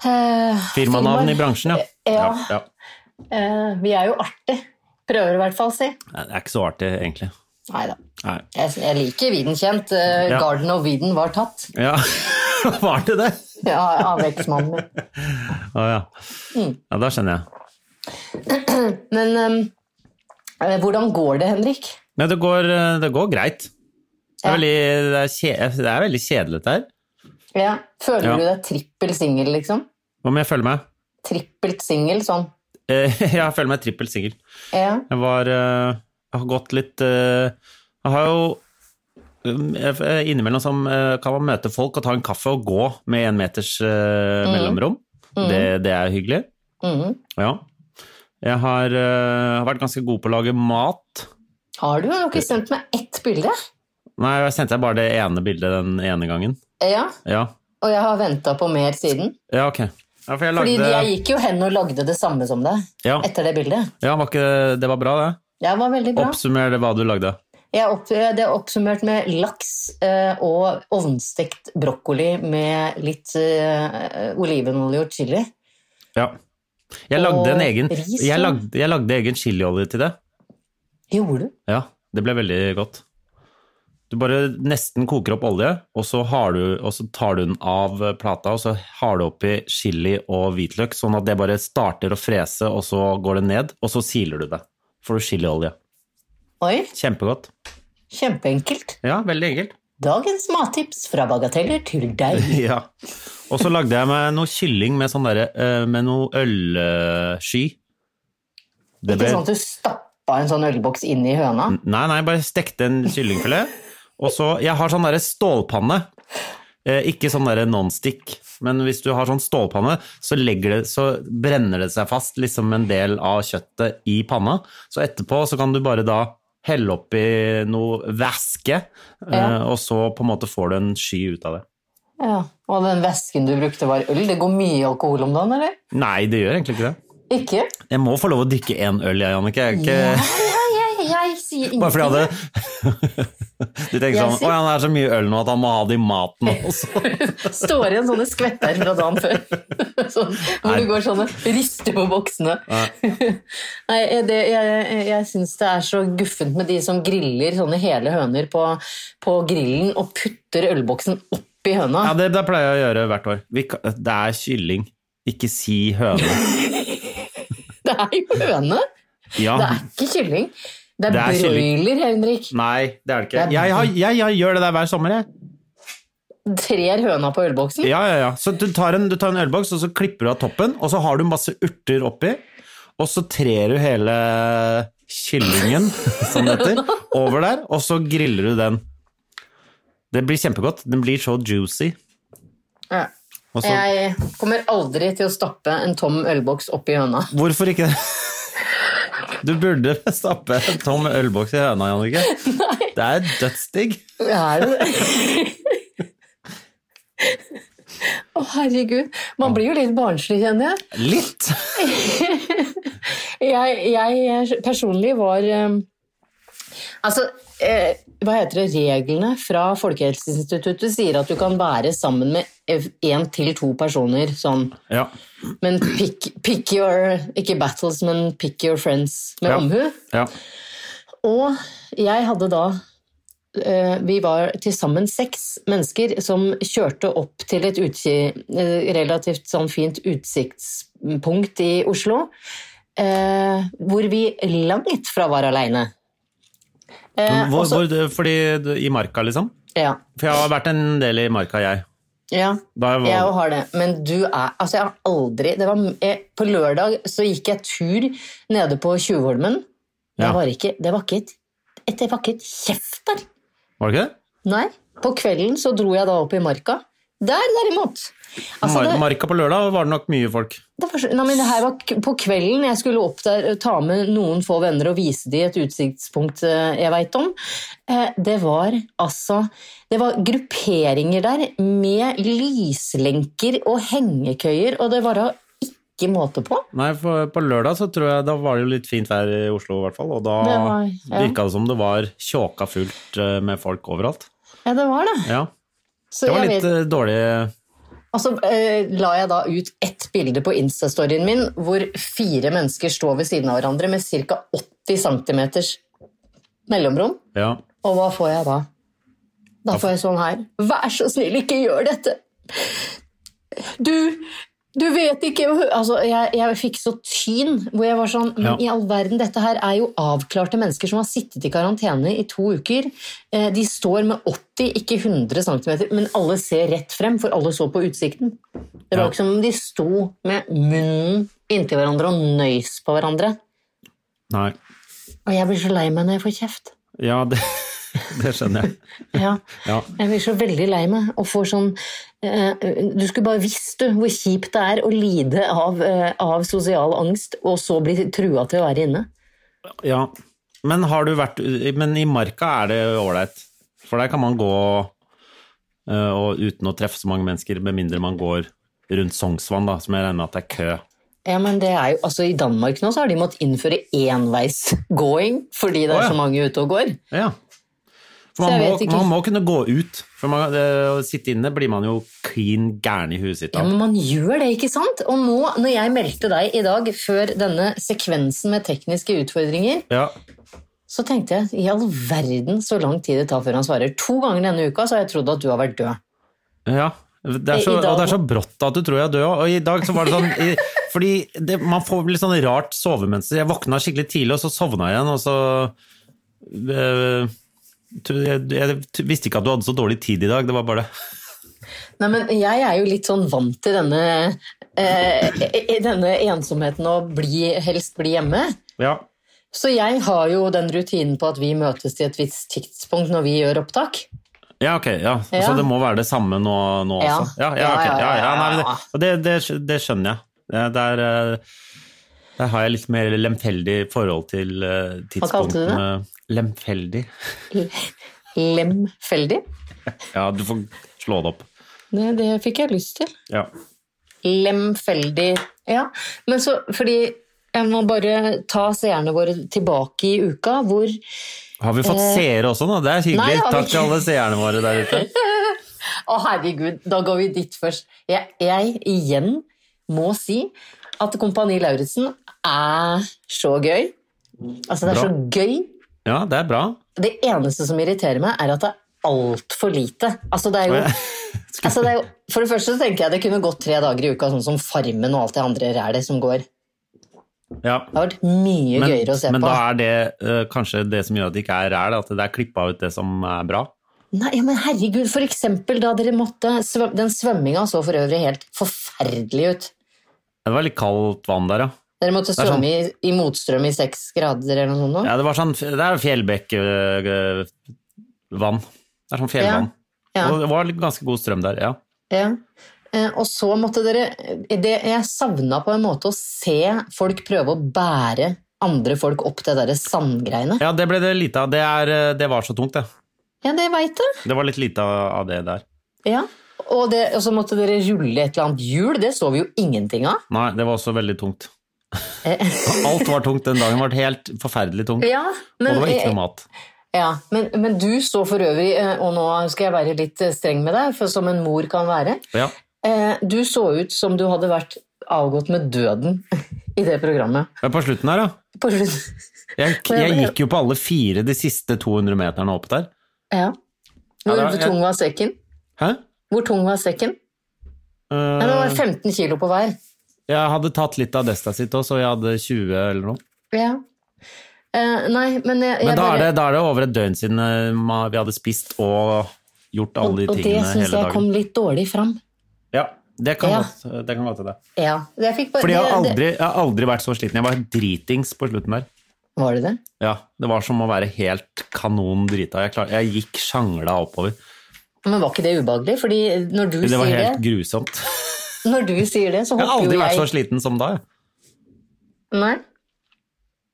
Speaker 2: eh,
Speaker 1: Firmanavn i
Speaker 2: firmaer.
Speaker 1: bransjen, ja.
Speaker 2: Ja.
Speaker 1: ja.
Speaker 2: Eh, vi er jo artig, prøver i hvert fall å si.
Speaker 1: Nei, Det er ikke så artig, egentlig.
Speaker 2: Nei da.
Speaker 1: Nei.
Speaker 2: Jeg, jeg liker Viden kjent. Eh,
Speaker 1: Ja.
Speaker 2: Garden of Viden var tatt
Speaker 1: Ja, var det det?
Speaker 2: ja, av eksmannen min.
Speaker 1: Å ja.
Speaker 2: Mm.
Speaker 1: Ja, da skjønner jeg.
Speaker 2: Men ehm, eh, eh, hvordan går det, Henrik?
Speaker 1: Nei, det går, det går greit. Det er, veldig, det, er kje, det er veldig kjedelig det her.
Speaker 2: Ja. Føler
Speaker 1: Ja.
Speaker 2: du deg trippel singel, liksom?
Speaker 1: Hva må jeg følge med?
Speaker 2: Trippelt singel, sånn.
Speaker 1: Eh, Jeg følger meg trippel singel.
Speaker 2: Ja.
Speaker 1: Jeg var eh, Jeg har gått litt eh, Jeg har jo um, jeg- jeg- Innimellom som eh, kan man møte folk og ta en kaffe og gå med en meters eh,
Speaker 2: Mm.
Speaker 1: mellomrom. Det, det er hyggelig.
Speaker 2: Mhm.
Speaker 1: Ja. Jeg har, eh, har vært ganske god på å lage mat.
Speaker 2: Har du jo ikke sendt meg ett bilde?
Speaker 1: Nei, jeg sendte deg bare det ene bildet den ene gangen.
Speaker 2: Ja,
Speaker 1: Ja,
Speaker 2: og jeg har venta på mer siden.
Speaker 1: ja ok. Ja, for jeg
Speaker 2: Fordi
Speaker 1: lagde
Speaker 2: jeg gikk jo hen og lagde det samme som deg
Speaker 1: Ja,
Speaker 2: etter det bildet.
Speaker 1: ja var ikke, det var bra, det.
Speaker 2: Det var veldig bra.
Speaker 1: Oppsummer det hva du lagde.
Speaker 2: Jeg opp, det er oppsummert med laks eh, og ovnstekt brokkoli med litt eh, olivenolje og chili.
Speaker 1: Ja. Jeg lagde en egen,
Speaker 2: ris,
Speaker 1: jeg
Speaker 2: ja.
Speaker 1: lagde, jeg lagde egen chiliolje til det.
Speaker 2: Gjorde du?
Speaker 1: Ja, det ble veldig godt. Du bare nesten koker opp olje, og så, har du, og så tar du den av plata, og så har du oppi chili og hvitløk, sånn at det bare starter å frese, og så går det ned, og så siler du det. Får du chiliolje.
Speaker 2: Oi,
Speaker 1: Kjempegodt.
Speaker 2: kjempeenkelt.
Speaker 1: Ja, veldig enkelt.
Speaker 2: Dagens mattips fra bagateller til deg.
Speaker 1: Ja. Og så lagde jeg meg noe kylling med, sånn derre, eh, med noe ølsky. Det Mm.
Speaker 2: Ikke sånn at du stappa en sånn ølboks inn i høna.
Speaker 1: Nei, nei, bare stekte en kyllingfilet. Og så, jeg har sånn derre stålpanne. Eh, ikke sånn derre nonstick, men hvis du har sånn stålpanne, så, legger det, så brenner det seg fast liksom en del av kjøttet i panna. Så etterpå så kan du bare da helle oppi noe væske, eh,
Speaker 2: Ja.
Speaker 1: og så på en måte får du en sky ut av det.
Speaker 2: Ja. Og den væsken du brukte, var øl. Det går mye alkohol om dagen, eller?
Speaker 1: Nei, det gjør egentlig ikke det.
Speaker 2: Ikke?
Speaker 1: Jeg må få lov å drikke én øl, jeg, Jannicke. Jeg er ikke
Speaker 2: Ja, ja, ja, jeg, sier
Speaker 1: Bare fordi jeg
Speaker 2: ingenting.
Speaker 1: hadde Du tenker
Speaker 2: Jeg
Speaker 1: sånn
Speaker 2: sier-
Speaker 1: Å, han er så mye øl nå at han må ha det i maten også.
Speaker 2: Står igjen sånne skvetter fra dagen før. Sånn, hvor
Speaker 1: Nei.
Speaker 2: du går sånn og rister på boksene. Nei, eh, det, jeg jeg syns det er så guffent med de som griller sånne hele høner på, på grillen og putter ølboksen oppi høna.
Speaker 1: Ja, det, det pleier jeg å gjøre hvert år. Vi, ka- det er kylling. Ikke si høne.
Speaker 2: Det er jo høne!
Speaker 1: Ja.
Speaker 2: Det er ikke kylling. Det er,
Speaker 1: Det er kylling.
Speaker 2: broiler, Henrik.
Speaker 1: Nei, det er det ikke.
Speaker 2: Det er-
Speaker 1: Jeg, har- jeg, jeg gjør det der hver sommer, jeg.
Speaker 2: Trer høna på ølboksen.
Speaker 1: Ja, ja, ja. Så du tar en, du tar en ølboks, og så klipper du av toppen, og så har du masse urter oppi, og så trer du hele kyllingen, som det heter, over der, og så griller du den. Det blir kjempegodt. Den blir så juicy.
Speaker 2: Ja.
Speaker 1: Og så,
Speaker 2: Jeg kommer aldri til å stappe en tom ølboks oppi høna.
Speaker 1: hvorfor ikke det? Du burde stappe en tom ølboks i høna, Jannicke. Det er dødsdigg.
Speaker 2: Er det det? Å, herregud. Man blir jo litt barnslig, kjenner jeg.
Speaker 1: Litt.
Speaker 2: Jeg, jeg personlig var eh, Altså, eh, hva heter det Reglene fra Folkehelseinstituttet sier at du kan være sammen med én til to personer sånn.
Speaker 1: Ja.
Speaker 2: Men pick, pick your Ikke battles, men pick your friends med
Speaker 1: Ja.
Speaker 2: omhu.
Speaker 1: ja.
Speaker 2: Og jeg hadde da eh, Vi var til sammen seks mennesker som kjørte opp til et utki, eh, relativt sånn fint utsiktspunkt i Oslo. eh, hvor vi langt fra var aleine. Eh,
Speaker 1: Hvor,
Speaker 2: og så-
Speaker 1: hvor, fordi du- I marka, liksom?
Speaker 2: ja,
Speaker 1: For jeg har vært en del i marka, jeg.
Speaker 2: ja.
Speaker 1: Da jeg var,
Speaker 2: Jeg har det, men du er Altså, jeg har aldri det var, jeg, På lørdag så gikk jeg tur nede på Tjuvholmen. Det,
Speaker 1: Ja.
Speaker 2: var ikke, det var ikke et, det var ikke et kjeft der.
Speaker 1: var det ikke det?
Speaker 2: Nei, på kvelden så dro jeg da opp i marka. Der, derimot. Altså,
Speaker 1: Mar
Speaker 2: det,
Speaker 1: Marka på lørdag var det nok mye folk.
Speaker 2: det, var, så- nei, men det her var k- på kvelden. Jeg skulle opp der, eh, ta med noen få venner og vise de et utsiktspunkt eh, jeg veit om. Eh, Det var altså Det var grupperinger der med lyslenker og hengekøyer, og det var da ikke måte på.
Speaker 1: Nei, for på lørdag så tror jeg da var det jo litt fint vær i Oslo i hvert fall, og da
Speaker 2: Det var- ja.
Speaker 1: virka det som det var tjåka fullt eh, med folk overalt.
Speaker 2: Ja, det var det.
Speaker 1: Ja,
Speaker 2: Så
Speaker 1: det var litt
Speaker 2: jeg vet-
Speaker 1: eh, dårlig
Speaker 2: Og så eh, la jeg da ut ett bilde på Insta-storyen min hvor fire mennesker står ved siden av hverandre med ca. 80 cm mellomrom.
Speaker 1: Ja.
Speaker 2: Og hva får jeg da? Da får jeg sånn her. Vær så snill, ikke gjør dette! Du du vet ikke altså, jeg, jeg fikk så tyn hvor jeg var sånn
Speaker 1: Ja.
Speaker 2: Men i all verden, dette her er jo avklarte mennesker som har sittet i karantene i to uker. Eh, De står med 80, ikke 100 cm, men alle ser rett frem, for alle så på utsikten. Det
Speaker 1: Ja.
Speaker 2: var ikke som om de sto med munnen inntil hverandre og nøys på hverandre.
Speaker 1: Nei.
Speaker 2: Og jeg blir så lei meg når jeg får kjeft.
Speaker 1: Ja, det, det skjønner jeg.
Speaker 2: Ja.
Speaker 1: Ja.
Speaker 2: Jeg blir så veldig lei meg og får sånn eh, Du skulle bare visst du, hvor kjipt det er å lide av, eh, av sosial angst, og så bli trua til å være inne.
Speaker 1: ja. Men har du vært Men i marka er det ålreit, for der kan man gå eh, og uten å treffe så mange mennesker, med mindre man går rundt Sognsvann, da, som jeg regner med at det er kø.
Speaker 2: Ja, men det er jo, altså I Danmark nå så har de måttet innføre enveisgåing fordi
Speaker 1: Å,
Speaker 2: det er
Speaker 1: ja.
Speaker 2: så mange ute og går.
Speaker 1: Ja. For
Speaker 2: Så
Speaker 1: man
Speaker 2: jeg
Speaker 1: må,
Speaker 2: vet ikke.
Speaker 1: man må kunne gå ut. For man, det, å sitte inne blir man jo klin gæren i huet sitt
Speaker 2: Ja,
Speaker 1: av.
Speaker 2: men man gjør det, ikke sant? Og nå, når jeg meldte deg i dag før denne sekvensen med tekniske utfordringer,
Speaker 1: Ja.
Speaker 2: så tenkte jeg i all verden så lang tid det tar før han svarer. To ganger denne uka så har jeg trodd at du har vært død.
Speaker 1: ja. Det er
Speaker 2: I-
Speaker 1: så,
Speaker 2: i dag-
Speaker 1: og det er så brått at du tror jeg er død òg. Og i dag så var det sånn i, Fordi det, man får litt sånn rart sovemønster. Jeg våkna skikkelig tidlig, og så sovna jeg igjen, og så øh, tro- jeg, jeg t- visste ikke at du hadde så dårlig tid i dag. Det var bare det.
Speaker 2: Nei, men jeg er jo litt sånn vant til denne, eh, eh, denne ensomheten og bli, helst bli hjemme.
Speaker 1: Ja.
Speaker 2: Så jeg har jo den rutinen på at vi møtes til et visst tidspunkt når vi gjør opptak.
Speaker 1: Ja, ok. Ja. Så
Speaker 2: Ja.
Speaker 1: det må være det samme nå, nå
Speaker 2: Ja.
Speaker 1: også? Ja, ja, ok.
Speaker 2: Ja, ja,
Speaker 1: ja, ja,
Speaker 2: ja,
Speaker 1: nei, men
Speaker 2: ja.
Speaker 1: det, og det, det, skj- det skjønner jeg. Det- Der, eh, der har jeg litt mer lemfeldig forhold til eh,
Speaker 2: kalte du det?
Speaker 1: tidspunktene. Lemfeldig?
Speaker 2: Lemfeldig.
Speaker 1: Ja, du får slå det opp.
Speaker 2: Det, det fikk jeg lyst til.
Speaker 1: Ja.
Speaker 2: Lemfeldig. Ja, men så fordi jeg må bare ta seerne våre tilbake i uka hvor
Speaker 1: Har vi fått seere også nå? Det er
Speaker 2: Eh, nei,
Speaker 1: hyggelig.
Speaker 2: det har vi
Speaker 1: Takk til
Speaker 2: ikke.
Speaker 1: alle seerne våre der ute.
Speaker 2: Å, herregud, da går vi dit først. Jeg, jeg igjen må si at Kompani Lauritzen er så gøy. Altså, det er
Speaker 1: Bra.
Speaker 2: så gøy.
Speaker 1: Ja, det er bra.
Speaker 2: Det eneste som irriterer meg, er at det er altfor lite. Altså, det er jo Altså, det er jo, for det første så tenker jeg det kunne gått tre dager i uka, sånn som Farmen og alt det andre rælet som går. Det
Speaker 1: Ja.
Speaker 2: har vært mye
Speaker 1: Men,
Speaker 2: gøyere å se
Speaker 1: men
Speaker 2: på.
Speaker 1: da er det eh, kanskje det som gjør at det ikke er ræl, at det er klippa ut det som er bra.
Speaker 2: Nei, ja, men herregud, for eksempel da dere måtte svøm Den svømminga så for øvrig helt forferdelig ut.
Speaker 1: Det var litt kaldt vann der, ja.
Speaker 2: Dere måtte
Speaker 1: er sånn.
Speaker 2: svømme i, i motstrøm i seks grader eller noe sånt. nå.
Speaker 1: ja det, var sånn, det er fjellbekkvann. Det er sånn fjellvann.
Speaker 2: Ja, ja.
Speaker 1: Og det var litt ganske god strøm der, ja.
Speaker 2: Ja. Eh, Og så måtte dere det, Jeg savna på en måte å se folk prøve å bære andre folk opp det derre sandgreiene.
Speaker 1: Ja, det ble det lite av. Det, er, eh, det var så tungt, det.
Speaker 2: Ja, det veit jeg.
Speaker 1: Det var litt lite av det der.
Speaker 2: Ja. Og, det, og så måtte dere rulle et eller annet hjul. Det så vi jo ingenting av.
Speaker 1: Nei, det var også veldig tungt. Alt var tungt den dagen. Det var helt forferdelig tungt.
Speaker 2: Eh. Ja, men,
Speaker 1: og det var ikke noe mat.
Speaker 2: ja, men, men du så for øvrig, eh, og nå skal jeg være litt eh, streng med deg, for som en mor kan være
Speaker 1: Ja.
Speaker 2: eh, Du så ut som du hadde vært avgått med døden i det programmet.
Speaker 1: Men på slutten her, da.
Speaker 2: På slutt.
Speaker 1: Jeg, jeg gikk jo på alle fire de siste 200 meterne opp der.
Speaker 2: Ja.
Speaker 1: Ja,
Speaker 2: Hvor
Speaker 1: det var- jeg-
Speaker 2: tung var sekken?
Speaker 1: Hæ? Eh,
Speaker 2: Hvor tung var sekken? Nei, det var 15 kilo på hver.
Speaker 1: Jeg hadde tatt litt av Desta sitt også, og jeg hadde 20 eller noe.
Speaker 2: Ja. Eh, nei, men jeg, jeg
Speaker 1: Men da er,
Speaker 2: bare-
Speaker 1: det, da er det over et døgn siden eh, ma- vi hadde spist og gjort alle de
Speaker 2: Og det
Speaker 1: tingene
Speaker 2: syns
Speaker 1: hele
Speaker 2: jeg
Speaker 1: dagen.
Speaker 2: kom litt dårlig fram.
Speaker 1: Ja, det kan
Speaker 2: Ja.
Speaker 1: godt eh, det kan godt hende.
Speaker 2: Ja. Jeg fikk bare,
Speaker 1: Fordi jeg har,
Speaker 2: det- det-
Speaker 1: aldri, jeg har aldri vært så sliten. Jeg var dritings på slutten der.
Speaker 2: Var det det?
Speaker 1: Ja, Det var som å være helt kanon drita. Jeg, klar, jeg gikk sjangla oppover.
Speaker 2: Men var ikke det ubehagelig? Fordi når du,
Speaker 1: Det var
Speaker 2: sier
Speaker 1: helt
Speaker 2: det,
Speaker 1: grusomt.
Speaker 2: når du sier det, så
Speaker 1: Jeg har
Speaker 2: hopper jo
Speaker 1: aldri
Speaker 2: jeg
Speaker 1: vært så sliten som da. jeg.
Speaker 2: Nei.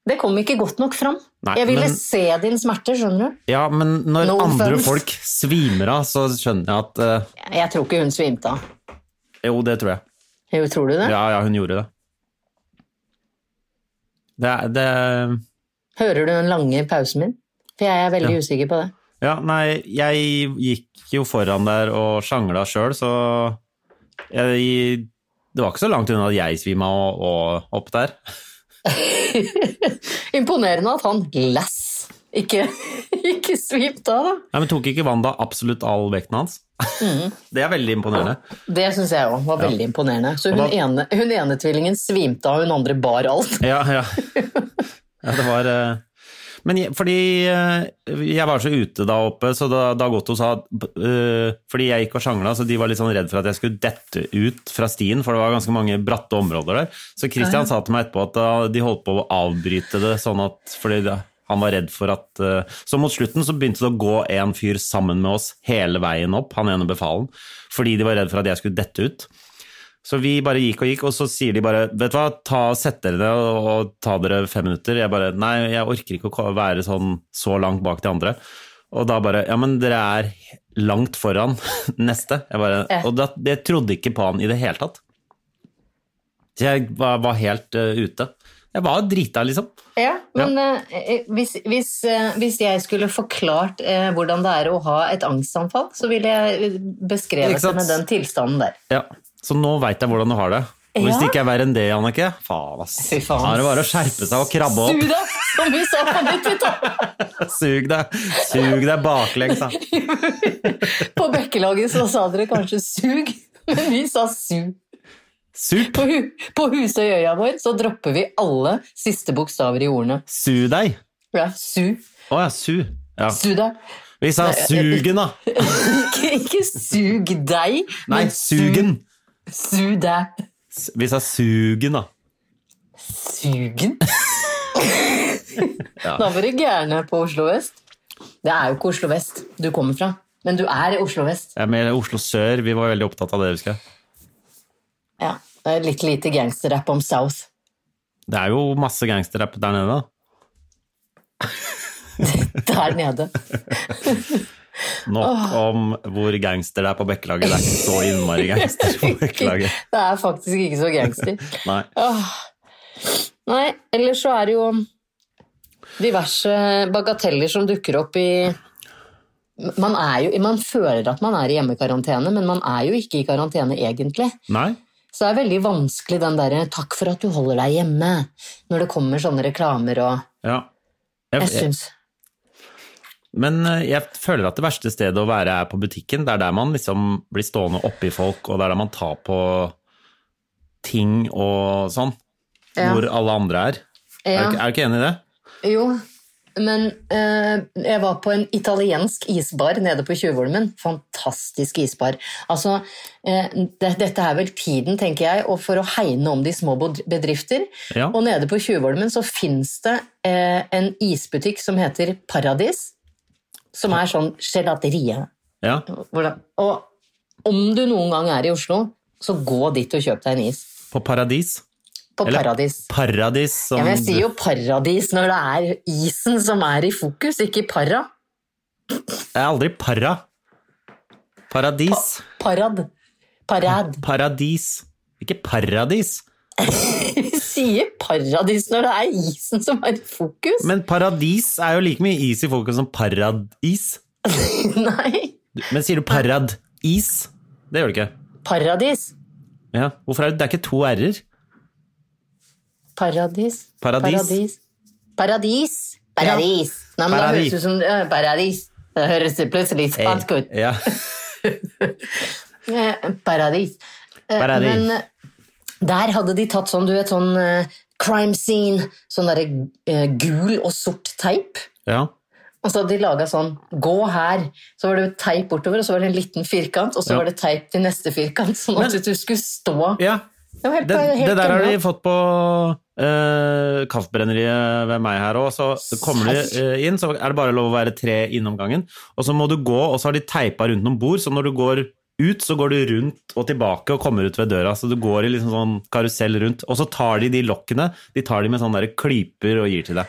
Speaker 2: Det kom ikke godt nok fram.
Speaker 1: Nei,
Speaker 2: jeg ville
Speaker 1: men-
Speaker 2: se din smerte, skjønner du.
Speaker 1: Ja, men når
Speaker 2: No
Speaker 1: andre
Speaker 2: offense.
Speaker 1: folk svimer av, så skjønner jeg at eh,
Speaker 2: Jeg tror ikke hun svimte av.
Speaker 1: Jo, det tror jeg.
Speaker 2: Jo, Tror du det?
Speaker 1: Ja, ja, hun gjorde det. Det er det
Speaker 2: Hører du den lange pausen min? For jeg er veldig usikker på det.
Speaker 1: Ja, nei, jeg gikk jo foran der og sjangla sjøl, så jeg, Det var ikke så langt unna at jeg svima og, og opp der.
Speaker 2: Imponerende at han lass ikke, ikke svimte av, da.
Speaker 1: Nei, men Tok ikke Wanda absolutt all vekten hans?
Speaker 2: Mm.
Speaker 1: Det er veldig imponerende.
Speaker 2: Det syns jeg òg var veldig imponerende. Så hun,
Speaker 1: Og da-
Speaker 2: ene, hun ene tvillingen svimte av, hun andre bar alt.
Speaker 1: Ja, ja. ja det var eh, Men jeg, fordi eh, jeg var så ute da oppe, så da, da Gotto sa eh, Fordi jeg gikk og sjangla, så de var litt sånn redd for at jeg skulle dette ut fra stien, for det var ganske mange bratte områder der. Så Christian sa til meg etterpå at da, de holdt på å avbryte det, sånn at fordi det, han var redd for at eh, Så mot slutten så begynte det å gå en fyr sammen med oss hele veien opp, han ene befalen, fordi de var redd for at jeg skulle dette ut. Så vi bare gikk og gikk, og så sier de bare Vet du hva, ta, sett dere ned og, og ta dere fem minutter. Jeg bare Nei, jeg orker ikke å ko- være sånn så langt bak de andre. Og da bare Ja, men dere er langt foran neste. Jeg bare,
Speaker 2: Ja.
Speaker 1: og da, det trodde ikke på han i det hele tatt. Så jeg var, var helt eh, ute. Jeg var drita, liksom.
Speaker 2: Ja, men eh, hvis, hvis, eh, hvis jeg skulle forklart eh, hvordan det er å ha et angstanfall, så ville jeg eh,
Speaker 1: Ikke
Speaker 2: beskrevet det
Speaker 1: sant?
Speaker 2: med den tilstanden der.
Speaker 1: Ja. Så nå veit jeg hvordan du har det. Og hvis
Speaker 2: Ja.
Speaker 1: det ikke er verre enn det, Annike Faen, ass.
Speaker 2: Fy faen.
Speaker 1: Da er det bare å skjerpe seg og krabbe
Speaker 2: Su
Speaker 1: opp.
Speaker 2: deg, som vi sa på 90-tallet!
Speaker 1: Sug deg, sug deg baklengs, da.
Speaker 2: På Bekkelaget så sa dere kanskje 'sug', men vi sa 'su'.
Speaker 1: Sup.
Speaker 2: På, hu på Husøyøya vår så dropper vi alle siste bokstaver i ordene.
Speaker 1: Su deg.
Speaker 2: Ja, su.
Speaker 1: Å ja, su. Ja.
Speaker 2: Su deg.
Speaker 1: Vi sa sugen, da.
Speaker 2: Ikke, ikke sug deg,
Speaker 1: Nei,
Speaker 2: men
Speaker 1: sugen.
Speaker 2: Su, su deg.
Speaker 1: S- Vi sa sugen, da.
Speaker 2: Sugen? Da var du gærne på Oslo vest. Det er jo ikke Oslo vest du kommer fra, men du er i Oslo vest.
Speaker 1: Ja, med Oslo sør. Vi var veldig opptatt av det, husker jeg.
Speaker 2: Ja, det er litt lite gangsterrapp om South.
Speaker 1: Det er jo masse gangsterrapp der nede, da.
Speaker 2: Der nede.
Speaker 1: Nok om hvor gangster det er på Bekkelaget. Det er ikke så innmari gangster på Bekkelaget.
Speaker 2: Det er faktisk ikke så gangster.
Speaker 1: Nei.
Speaker 2: Nei, ellers så er det jo diverse bagateller som dukker opp i man, er jo, man føler at man er i hjemmekarantene, men man er jo ikke i karantene egentlig.
Speaker 1: Nei?
Speaker 2: Så det er veldig vanskelig den derre 'takk for at du holder deg hjemme', når det kommer sånne reklamer og
Speaker 1: Ja. Jeg,
Speaker 2: Jeg syns
Speaker 1: men eh, jeg føler at det verste stedet å være er på butikken. Det er der man liksom blir stående oppi folk, og det er der man tar på ting og sånn.
Speaker 2: Ja.
Speaker 1: Hvor alle andre er. Er,
Speaker 2: Ja.
Speaker 1: du, ikke- er du ikke enig i det?
Speaker 2: Jo, men eh, jeg var på en italiensk isbar nede på Tjuvholmen. Fantastisk isbar. Altså, eh, det, dette er vel tiden, tenker jeg, og for å hegne om de små bod- bedrifter.
Speaker 1: Ja.
Speaker 2: Og nede på Tjuvholmen så fins det eh, en isbutikk som heter Paradis. Som er sånn gelaterie.
Speaker 1: Ja.
Speaker 2: Hvordan? Og om du noen gang er i Oslo, så gå dit og kjøp deg en is.
Speaker 1: På Paradis.
Speaker 2: På
Speaker 1: Eller
Speaker 2: Paradis.
Speaker 1: Paradis som
Speaker 2: Ja, men jeg
Speaker 1: du-
Speaker 2: sier jo paradis når det er isen som er i fokus, ikke para.
Speaker 1: Det er aldri para. Paradis.
Speaker 2: Parad. Parad.
Speaker 1: Paradis. Ikke paradis.
Speaker 2: Vi sier paradis når det er isen som er i fokus.
Speaker 1: Men paradis er jo like mye is i fokus som paradis.
Speaker 2: Nei.
Speaker 1: Men sier du paradis? Det gjør du ikke.
Speaker 2: Paradis.
Speaker 1: Ja. Hvorfor er det, det er ikke to r-er?
Speaker 2: Paradis.
Speaker 1: Paradis.
Speaker 2: Paradis. Paradis. Paradis. Nei, men da
Speaker 1: Paradis.
Speaker 2: høres det ut som ja, paradis. Det høres det plutselig spansk ut.
Speaker 1: Ja.
Speaker 2: Eh, Paradis. Eh,
Speaker 1: Paradis.
Speaker 2: Men eh, der hadde de tatt sånn, du vet, sånn eh, crime scene, sånn derre eh, gul og sort teip.
Speaker 1: ja.
Speaker 2: Og så hadde de laga sånn 'gå her'. Så var det teip bortover, og så var det en liten firkant, og så
Speaker 1: Ja.
Speaker 2: var det teip til neste firkant, sånn at
Speaker 1: Men-
Speaker 2: du skulle stå
Speaker 1: ja.
Speaker 2: Det var helt,
Speaker 1: Det,
Speaker 2: helt
Speaker 1: det der har de
Speaker 2: genialt.
Speaker 1: fått på uh, kaffebrenneriet ved meg her òg. Så kommer du eh, inn, så er det bare lov å være tre innom gangen. Og så må du gå, og så har de teipa rundt noen bord, så når du går ut, så går du rundt og tilbake og kommer ut ved døra. Så du går i liksom sånn karusell rundt. Og så tar de de lokkene, de tar de med sånne der klyper og gir til deg.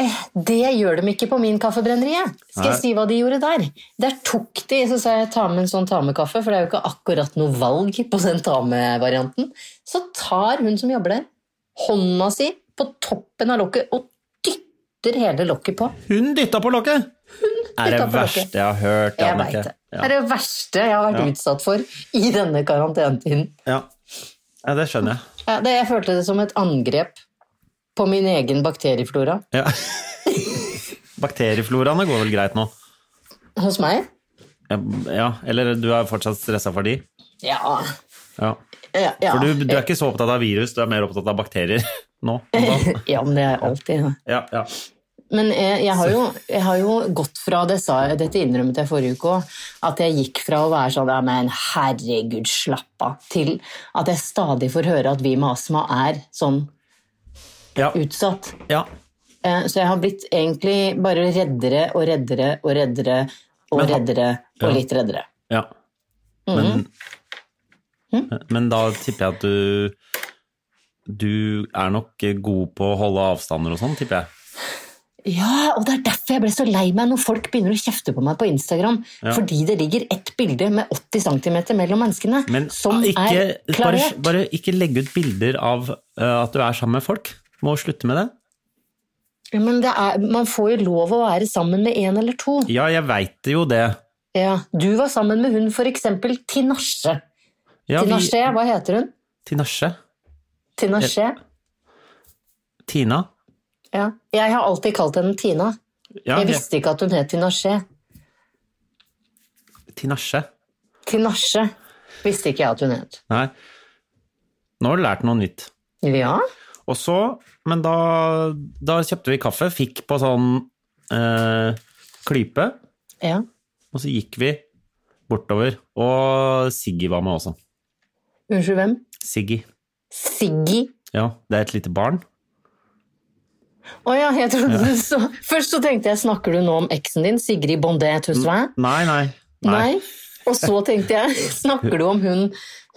Speaker 2: Eh, Det gjør de ikke på min kaffebrennerie. Skal jeg
Speaker 1: Nei.
Speaker 2: si hva de gjorde der? Der tok de Så sa jeg ta med en sånn tamekaffe, for det er jo ikke akkurat noe valg på den tamevarianten. Så tar hun som jobber der, hånda si på toppen av lokket og dytter hele lokket på.
Speaker 1: Hun dytta på lokket! er det
Speaker 2: dytta på lokket.
Speaker 1: verste jeg har hørt.
Speaker 2: Jeg
Speaker 1: Jannicke.
Speaker 2: veit det. Det
Speaker 1: Ja.
Speaker 2: er det verste jeg har vært utsatt for i denne karantenetiden.
Speaker 1: Ja. ja, det skjønner jeg.
Speaker 2: Ja, det, jeg følte det som et angrep på min egen bakterieflora.
Speaker 1: Ja. Bakteriefloraene går vel greit nå?
Speaker 2: Hos meg?
Speaker 1: Ja, eller du er fortsatt stressa for de?
Speaker 2: Ja.
Speaker 1: Ja.
Speaker 2: ja, ja.
Speaker 1: For du, du er ikke så opptatt av virus, du er mer opptatt av bakterier nå? om dagen.
Speaker 2: ja, men det er jeg alltid. Ja.
Speaker 1: Ja, ja.
Speaker 2: Men jeg, jeg, har jo, jeg har jo gått fra det, sa, dette innrømmet jeg forrige uke òg, at jeg gikk fra å være sånn ja, men herregud, slapp av, til at jeg stadig får høre at vi med astma er sånn
Speaker 1: Ja.
Speaker 2: utsatt.
Speaker 1: ja.
Speaker 2: Eh, Så jeg har blitt egentlig bare reddere og reddere og reddere og
Speaker 1: Men ha-
Speaker 2: reddere og
Speaker 1: Ja.
Speaker 2: litt reddere.
Speaker 1: ja. Men,
Speaker 2: Mm.
Speaker 1: men da tipper jeg at du Du er nok god på å holde avstander og sånn, tipper jeg.
Speaker 2: Ja, og det er derfor jeg ble så lei meg når folk begynner å kjefte på meg på Instagram. Fordi det ligger ett bilde med 80 cm mellom menneskene
Speaker 1: Men ah,
Speaker 2: som
Speaker 1: ikke,
Speaker 2: er
Speaker 1: bare,
Speaker 2: klarert.
Speaker 1: bare ikke legge ut bilder av eh, at du er sammen med folk. Må slutte med det.
Speaker 2: Ja, Men det er, man får jo lov å være sammen med én eller to.
Speaker 1: Ja, jeg veit jo det.
Speaker 2: Ja, Du var sammen med hun for eksempel Tinashe.
Speaker 1: Ja, vi-
Speaker 2: Tinashe, hva heter hun?
Speaker 1: Tinashe.
Speaker 2: Tinashe?
Speaker 1: Tina.
Speaker 2: Ja. Jeg har alltid kalt henne Tina.
Speaker 1: Ja,
Speaker 2: Jeg visste ikke at hun het Tinashe.
Speaker 1: Tinashe.
Speaker 2: Tinashe visste ikke jeg at hun het.
Speaker 1: Nei. Nå har du lært noe nytt.
Speaker 2: Ja,
Speaker 1: Og så, men da, da kjøpte vi kaffe, fikk på sånn eh, klype,
Speaker 2: ja.
Speaker 1: og så gikk vi bortover. Og Siggy var med også.
Speaker 2: Unnskyld, hvem?
Speaker 1: Siggy.
Speaker 2: Siggy.
Speaker 1: Ja, det er et lite barn.
Speaker 2: Å ja, jeg trodde du så Først så tenkte jeg, snakker du nå om eksen din, Sigrid Bondet Tusvin?
Speaker 1: Nei, nei.
Speaker 2: Nei. Og så tenkte jeg, snakker du om hun,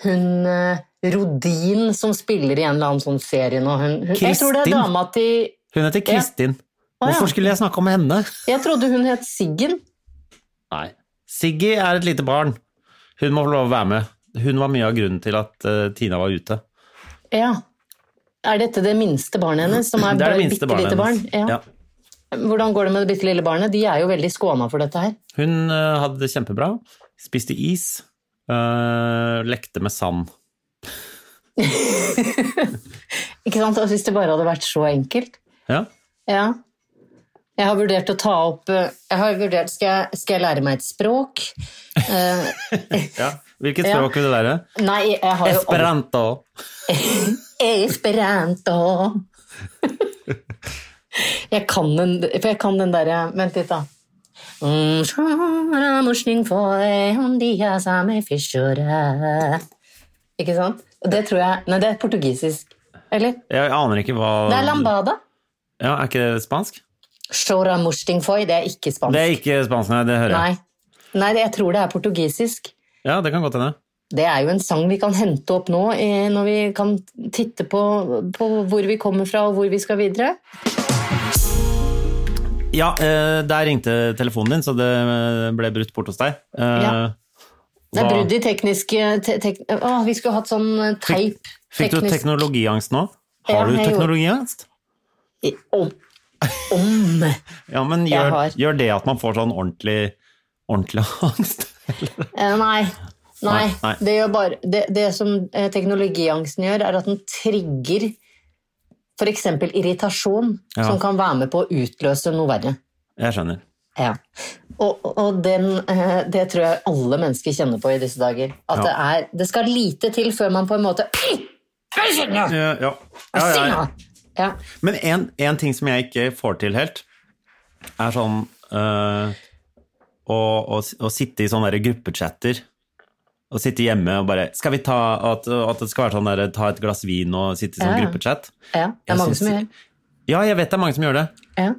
Speaker 2: hun eh, Rodin som spiller i en eller annen sånn serie nå? Hun, hun, jeg tror det
Speaker 1: Kristin.
Speaker 2: er dama til
Speaker 1: Hun heter Kristin.
Speaker 2: ja.
Speaker 1: Hvorfor skulle jeg snakke om henne?
Speaker 2: Jeg trodde hun het Siggen.
Speaker 1: Nei. Siggy er et lite barn. Hun må få lov å være med. Hun var mye av grunnen til at eh, Tina var ute.
Speaker 2: Ja. Er dette det minste barnet hennes? Som er,
Speaker 1: Det er
Speaker 2: bare
Speaker 1: det minste
Speaker 2: bitte
Speaker 1: barnet
Speaker 2: lite barn?
Speaker 1: hennes.
Speaker 2: Ja.
Speaker 1: Ja.
Speaker 2: Hvordan går det med det bitte lille barnet? De er jo veldig skåna for dette her.
Speaker 1: Hun eh, hadde det kjempebra. Spiste is. eh, lekte med sand.
Speaker 2: Ikke sant? Altså, hvis det bare hadde vært så enkelt.
Speaker 1: Ja.
Speaker 2: Ja. Jeg har vurdert å ta opp eh, jeg har vurdert, Skal jeg, skal jeg lære meg et språk? Eh,
Speaker 1: ja. Hvilket
Speaker 2: Ja.
Speaker 1: språk vil det være?
Speaker 2: nei, jeg har jo alt-
Speaker 1: Esperanto.
Speaker 2: Esperanto. jeg kan den, for jeg kan den derre Vent litt, da. Mm, sjara morsning foi, om dia same fischore. Ikke sant? Og Det tror jeg Nei, det er portugisisk. Eller?
Speaker 1: Jeg aner ikke hva
Speaker 2: Det er lambada.
Speaker 1: Ja, Er ikke det spansk?
Speaker 2: Sjora morsting foi, det er ikke spansk.
Speaker 1: Det er ikke spansk, nei. Det hører jeg.
Speaker 2: Nei. Nei, det- jeg tror det er portugisisk.
Speaker 1: Ja, det kan godt hende.
Speaker 2: Det er jo en sang vi kan hente opp nå, eh, når vi kan titte på, på hvor vi kommer fra og hvor vi skal videre.
Speaker 1: Ja, eh, der ringte telefonen din, så det eh, ble brutt bort hos deg. Eh,
Speaker 2: Ja. Det er
Speaker 1: hva-
Speaker 2: brudd i tekniske te tek Å, vi skulle hatt sånn eh, teip.
Speaker 1: Fikk du
Speaker 2: teknisk-
Speaker 1: teknologiangst nå?
Speaker 2: Ja,
Speaker 1: Har du
Speaker 2: jeg gjorde-
Speaker 1: teknologiangst?
Speaker 2: I- Om. Om.
Speaker 1: Ja, men
Speaker 2: Jeg
Speaker 1: gjør,
Speaker 2: har.
Speaker 1: gjør det at man får sånn ordentlig, ordentlig angst?
Speaker 2: Eh, nei. Nei.
Speaker 1: Nei, nei.
Speaker 2: Det, gjør bare, det, det som eh, teknologiangsten gjør, er at den trigger f.eks. irritasjon,
Speaker 1: Ja.
Speaker 2: som kan være med på å utløse noe verre.
Speaker 1: Jeg skjønner.
Speaker 2: Ja. Og, og den, eh, det tror jeg alle mennesker kjenner på i disse dager. At det,
Speaker 1: Ja.
Speaker 2: er, det skal lite til før man på en måte
Speaker 1: Ja, ja. Ja, ja, ja.
Speaker 2: Sinna! Ja.
Speaker 1: Men en, en ting som jeg ikke får til helt, er sånn øh, å, å, å sitte i sånne der gruppechatter. Å sitte hjemme og bare skal vi ta, at, at det skal være sånn der, ta et glass vin og sitte i sånn
Speaker 2: Ja, ja.
Speaker 1: gruppechat.
Speaker 2: ja. Det
Speaker 1: Jeg
Speaker 2: er mange
Speaker 1: syns-
Speaker 2: som gjør
Speaker 1: Ja, jeg vet det er mange som gjør det.
Speaker 2: ja.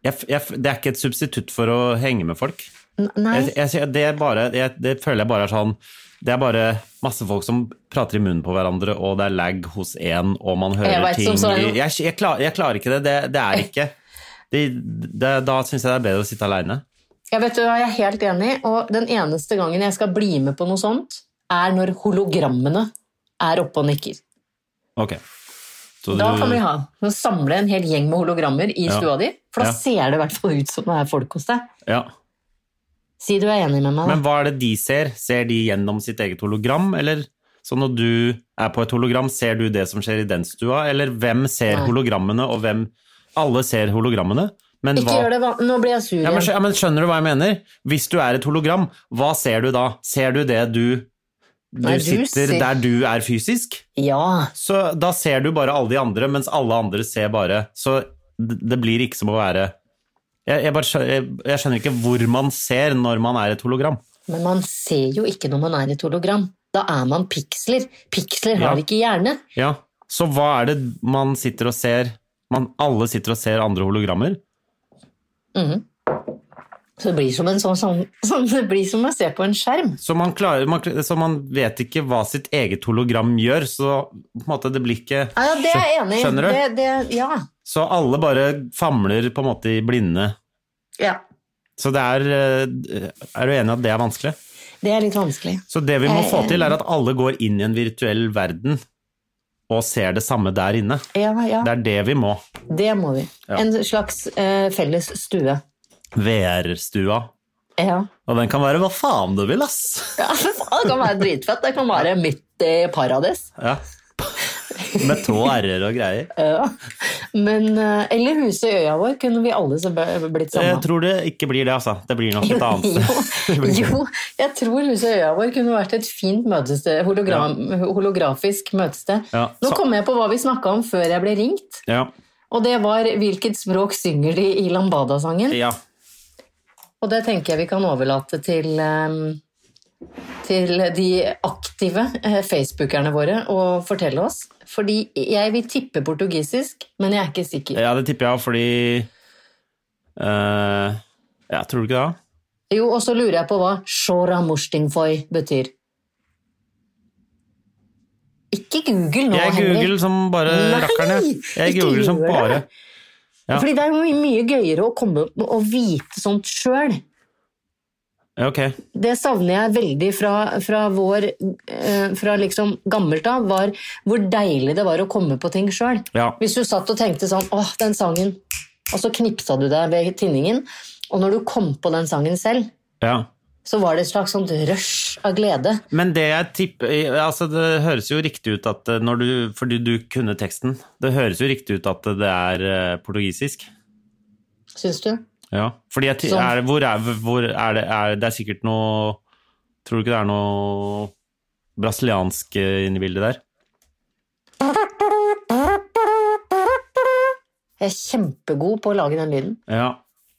Speaker 1: Jeg, f- jeg, f- det er ikke et substitutt for å henge med folk.
Speaker 2: N- Nei.
Speaker 1: Jeg, jeg, det, er bare, jeg, det føler jeg bare er sånn Det er bare masse folk som prater i munnen på hverandre, og det er lag hos én, og man hører
Speaker 2: Jeg vet,
Speaker 1: ting
Speaker 2: som sånn-
Speaker 1: i- jeg, jeg, klar, jeg klarer ikke det. Det, det er ikke det, det, Da syns jeg det er bedre å sitte aleine.
Speaker 2: Jeg vet du hva, jeg er helt enig, og den eneste gangen jeg skal bli med på noe sånt, er når hologrammene er oppe og nikker.
Speaker 1: Ok. Så
Speaker 2: Da
Speaker 1: du-
Speaker 2: kan vi ha å samle en hel gjeng med hologrammer i
Speaker 1: Ja.
Speaker 2: stua di, for da
Speaker 1: Ja.
Speaker 2: ser det i hvert fall ut som det er folk hos deg.
Speaker 1: ja.
Speaker 2: Si du er enig med meg, da.
Speaker 1: Men hva er det de ser? Ser de gjennom sitt eget hologram, eller? Så når du er på et hologram, ser du det som skjer i den stua, eller hvem ser
Speaker 2: Nei.
Speaker 1: hologrammene, og hvem Alle ser hologrammene, men
Speaker 2: Ikke
Speaker 1: hva
Speaker 2: gjør det, van- nå blir jeg sur
Speaker 1: Ja men, skj-
Speaker 2: igjen.
Speaker 1: ja, men skjønner du hva jeg mener? Hvis du er et hologram, hva ser du da? Ser du det du Du
Speaker 2: Nei, du
Speaker 1: sitter
Speaker 2: ser-
Speaker 1: der du er fysisk?
Speaker 2: Ja,
Speaker 1: Så da ser du bare alle de andre, mens alle andre ser bare Så d- det blir ikke som å være jeg, jeg, bare skjønner, jeg, jeg skjønner ikke hvor man ser når man er et hologram.
Speaker 2: men man ser jo ikke når man er i et hologram. Da er man piksler. Piksler
Speaker 1: Ja.
Speaker 2: har ikke hjerne.
Speaker 1: Ja. Så hva er det man sitter og ser man, Alle sitter og ser andre hologrammer.
Speaker 2: Så det blir som en sånn, sånn, sånn Det blir som å se på en skjerm.
Speaker 1: Så man, klarer, man, så man vet ikke hva sitt eget hologram gjør, så på en måte det blir ikke
Speaker 2: Ja, ja, det er jeg enig i.
Speaker 1: Skjønner du?
Speaker 2: Det, det, ja.
Speaker 1: Så alle bare famler på en måte i blinde.
Speaker 2: ja.
Speaker 1: Så det er eh, Er du enig at det er vanskelig?
Speaker 2: Det er litt vanskelig.
Speaker 1: Så det vi må
Speaker 2: Jeg er
Speaker 1: få til,
Speaker 2: enig.
Speaker 1: er at alle går inn i en virtuell verden og ser det samme der inne.
Speaker 2: Ja, ja.
Speaker 1: Det er det vi må.
Speaker 2: Det må vi.
Speaker 1: Ja.
Speaker 2: En slags eh, felles stue.
Speaker 1: VR-stua.
Speaker 2: Ja.
Speaker 1: Og den kan være hva faen du vil, ass!
Speaker 2: ja for faen, det kan være dritfett. Det kan være midt i paradis.
Speaker 1: Ja. Med tå r-er og greier.
Speaker 2: Ja. Men, eh, eller huset i øya vår kunne vi alle så b- blitt
Speaker 1: Jeg
Speaker 2: sammen.
Speaker 1: tror det ikke blir det, altså. Det blir nok et annet
Speaker 2: Jo,
Speaker 1: Det blir-
Speaker 2: jo, jeg tror huset i øya vår kunne vært et fint møtested, hologram, holografisk møtested.
Speaker 1: Ja,
Speaker 2: Nå
Speaker 1: så-
Speaker 2: kom jeg på hva vi snakka om før jeg ble ringt,
Speaker 1: Ja.
Speaker 2: og det var hvilket språk synger de i Lambada-sangen?
Speaker 1: ja.
Speaker 2: Og det tenker jeg vi kan overlate til, ehm, til de aktive eh, facebookerne våre å fortelle oss. Fordi jeg vil tippe portugisisk, men jeg er ikke sikker.
Speaker 1: ja det tipper jeg, fordi eh, Ja, tror du ikke det?
Speaker 2: Jo, og så lurer jeg på hva Shora Morstingfoy betyr. Ikke google nå,
Speaker 1: Jeg
Speaker 2: Henrik.
Speaker 1: googler som bare
Speaker 2: Nei,
Speaker 1: rakkeren, jeg. Jeg
Speaker 2: ikke
Speaker 1: googler som
Speaker 2: gjør
Speaker 1: bare.
Speaker 2: det. Fordi det er jo mye gøyere å komme og vite sånt sjøl.
Speaker 1: Ja, Ok.
Speaker 2: det savner jeg veldig fra, fra vår eh, Fra liksom gammelt av, var hvor deilig det var å komme på ting sjøl.
Speaker 1: Ja.
Speaker 2: Hvis du satt og tenkte sånn Åh, den sangen. Og så knipsa du deg ved tinningen, og når du kom på den sangen selv,
Speaker 1: Ja.
Speaker 2: så var det et slags sånt rush av glede.
Speaker 1: Men det jeg tipper altså Det høres jo riktig ut at eh, når du Fordi du kunne teksten. Det høres jo riktig ut at det er eh, portugisisk.
Speaker 2: Syns du?
Speaker 1: Ja. Fordi jeg, ti-
Speaker 2: Sånn.
Speaker 1: er, hvor er, hvor er det er, Det er sikkert noe Tror du ikke det er noe brasiliansk eh, inni bildet der?
Speaker 2: Jeg er kjempegod på å lage den lyden.
Speaker 1: Ja.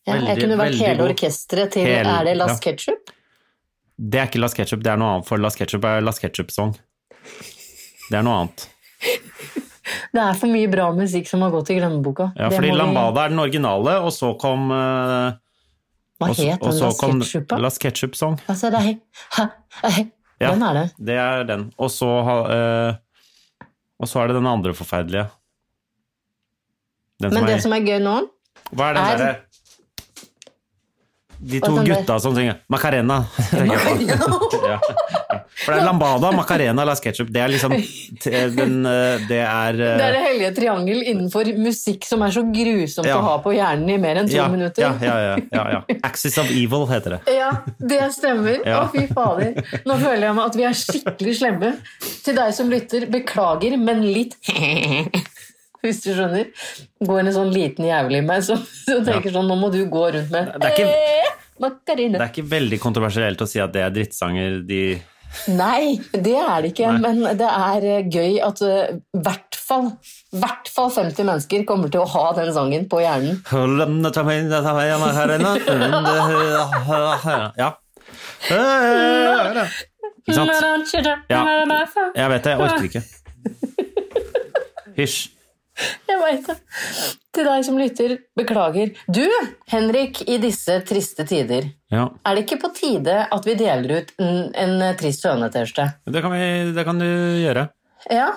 Speaker 2: Ja, jeg
Speaker 1: Veldig-
Speaker 2: kunne vært
Speaker 1: veldig
Speaker 2: hele
Speaker 1: god.
Speaker 2: orkesteret til
Speaker 1: Hele-
Speaker 2: Er det Las
Speaker 1: ja.
Speaker 2: Ketchup?
Speaker 1: Det er ikke Las Ketchup, det er noe annet. For Las Ketchup er Las Ketchup-song. Det er noe annet.
Speaker 2: Det er for mye bra musikk som har gått i glemmeboka.
Speaker 1: Ja,
Speaker 2: Det
Speaker 1: fordi
Speaker 2: må vi-
Speaker 1: Lambada er den originale, og så kom eh,
Speaker 2: Hva
Speaker 1: og,
Speaker 2: het
Speaker 1: og
Speaker 2: den
Speaker 1: så
Speaker 2: Las
Speaker 1: kom
Speaker 2: Ketchup, da?
Speaker 1: Las Ketchup Song.
Speaker 2: Altså, det er hei, ha, hei.
Speaker 1: Ja.
Speaker 2: Den er det.
Speaker 1: Det er den. Og så, ha- eh, og så er det den andre forferdelige. Den
Speaker 2: Men
Speaker 1: som
Speaker 2: det
Speaker 1: er,
Speaker 2: som er gøy nå
Speaker 1: Hva er den
Speaker 2: er-
Speaker 1: derre De to
Speaker 2: den der-
Speaker 1: gutta som synger Macarena. tenker jeg på. ja. For det er Lambada, Macarena, Las Ketchup. Det er liksom t- den, eh, Det er eh,
Speaker 2: Det er det hellige triangel innenfor musikk som er så grusomt
Speaker 1: Ja.
Speaker 2: å ha på hjernen i mer enn to
Speaker 1: ja,
Speaker 2: minutter.
Speaker 1: Ja, ja, ja, ja, ja. Axis of Evil heter det.
Speaker 2: Ja, det stemmer.
Speaker 1: Ja.
Speaker 2: Å, fy fader. Nå føler jeg meg at vi er skikkelig slemme. Til deg som lytter, beklager, men litt Hvis du skjønner. Går en sånn liten jævel i meg som som tenker sånn Nå må du gå rundt med
Speaker 1: Det er ikke-
Speaker 2: «Eh, Macarena.
Speaker 1: Det er ikke veldig kontroversielt å si at det er drittsanger de
Speaker 2: Nei, det er det ikke. Men det er eh, gøy at eh, hvert fall, hvert fall 50 mennesker kommer til å ha den sangen på hjernen.
Speaker 1: Ja. Ikke sant? Ja. Jeg vet det, jeg orker ikke. Hysj.
Speaker 2: Jeg vet det. Til deg som lytter, beklager. Du, Henrik, i disse triste tider,
Speaker 1: Ja.
Speaker 2: er det ikke på tide at vi deler ut en, en trist høne-T-skjorte?
Speaker 1: Det kan, vi, det kan du gjøre.
Speaker 2: Ja.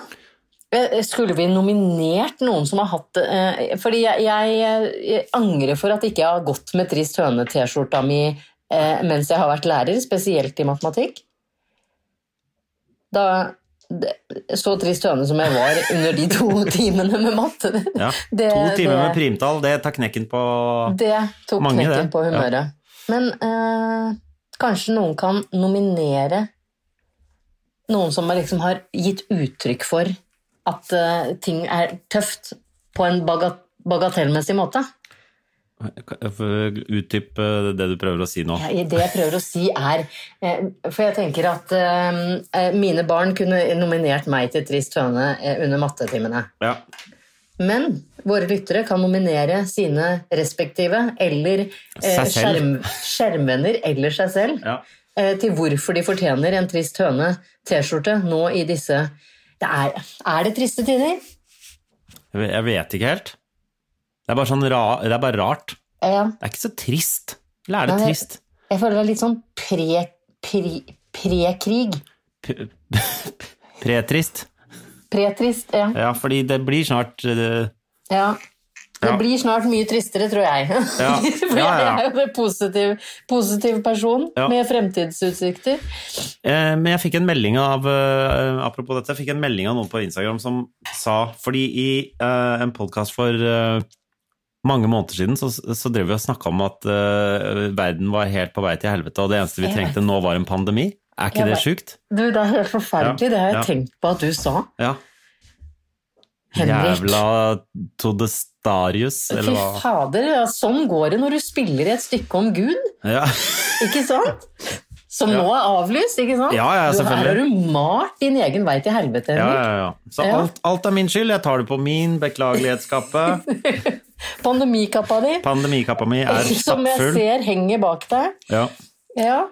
Speaker 2: Eh, Skulle vi nominert noen som har hatt eh, Fordi jeg, jeg, jeg angrer for at ikke jeg har gått med Trist høne-T-skjorta mi eh, mens jeg har vært lærer, spesielt i matematikk. Da, det, så trist høne som jeg var under de to timene med matte.
Speaker 1: Ja.
Speaker 2: det-
Speaker 1: To timer med
Speaker 2: det-
Speaker 1: primtall, det tar knekken på
Speaker 2: det tok
Speaker 1: Mange,
Speaker 2: knekken
Speaker 1: det.
Speaker 2: på
Speaker 1: Ja.
Speaker 2: humøret. Men eh, kanskje noen kan nominere noen som liksom har gitt uttrykk for at eh, ting er tøft på en bagat bagatellmessig måte.
Speaker 1: Utdyp eh, det du prøver å si nå.
Speaker 2: Jeg- Det jeg prøver å si er eh, For jeg tenker at eh, mine barn kunne nominert meg til Trist høne eh, under mattetimene.
Speaker 1: Ja.
Speaker 2: Men våre lyttere kan nominere sine respektive eller eh,
Speaker 1: Seg selv.
Speaker 2: skjerm, skjermvenner eller seg selv
Speaker 1: Ja.
Speaker 2: eh, til hvorfor de fortjener en trist høne T-skjorte nå i disse det er, er det triste tider?
Speaker 1: Jeg ve- jeg vet ikke helt. Det er bare, sånn ra, det er bare rart.
Speaker 2: Eh, Ja.
Speaker 1: Det er ikke så trist. Eller er det
Speaker 2: Nei,
Speaker 1: trist?
Speaker 2: Jeg føler det er litt sånn pre, pre, pre-krig.
Speaker 1: P- Pretrist?
Speaker 2: Pre-trist, ja.
Speaker 1: Ja, fordi det blir snart eh,
Speaker 2: ja. Det
Speaker 1: Ja.
Speaker 2: blir snart mye tristere, tror jeg.
Speaker 1: Ja.
Speaker 2: For
Speaker 1: Ja,
Speaker 2: jeg
Speaker 1: ja.
Speaker 2: er jo en positiv, positiv person
Speaker 1: Ja.
Speaker 2: med fremtidsutsikter.
Speaker 1: Eh, Men jeg fikk en melding av eh, Apropos dette, jeg fikk en melding av noen på Instagram som sa Fordi i eh, en podkast for eh, mange måneder siden så, så drev vi og snakka om at eh, verden var helt på vei til helvete, og det eneste vi
Speaker 2: Jeg vet.
Speaker 1: trengte nå, var en pandemi. Er ikke
Speaker 2: Jeg
Speaker 1: det
Speaker 2: vet.
Speaker 1: sjukt?
Speaker 2: Du, det er helt forferdelig.
Speaker 1: Ja,
Speaker 2: Det har jeg
Speaker 1: ja.
Speaker 2: tenkt på at du sa.
Speaker 1: Ja.
Speaker 2: Henrik.
Speaker 1: Jævla Todestarius,
Speaker 2: Fy
Speaker 1: eller hva?
Speaker 2: fader, ja, sånn går det når du spiller et stykke om Gud,
Speaker 1: Ja.
Speaker 2: ikke sant? Som nå er avlyst, ikke sant?
Speaker 1: Ja, ja,
Speaker 2: du, her
Speaker 1: selvfølgelig.
Speaker 2: har du malt din egen vei til
Speaker 1: Ja,
Speaker 2: helvete, Henrik.
Speaker 1: ja, ja. Så
Speaker 2: Ja.
Speaker 1: alt, alt er min skyld. Jeg tar det på min beklagelighetskappe.
Speaker 2: Pandemikappa di,
Speaker 1: Pandemikappa mi er
Speaker 2: som jeg
Speaker 1: stappfull.
Speaker 2: ser henger bak deg.
Speaker 1: Ja.
Speaker 2: Ja,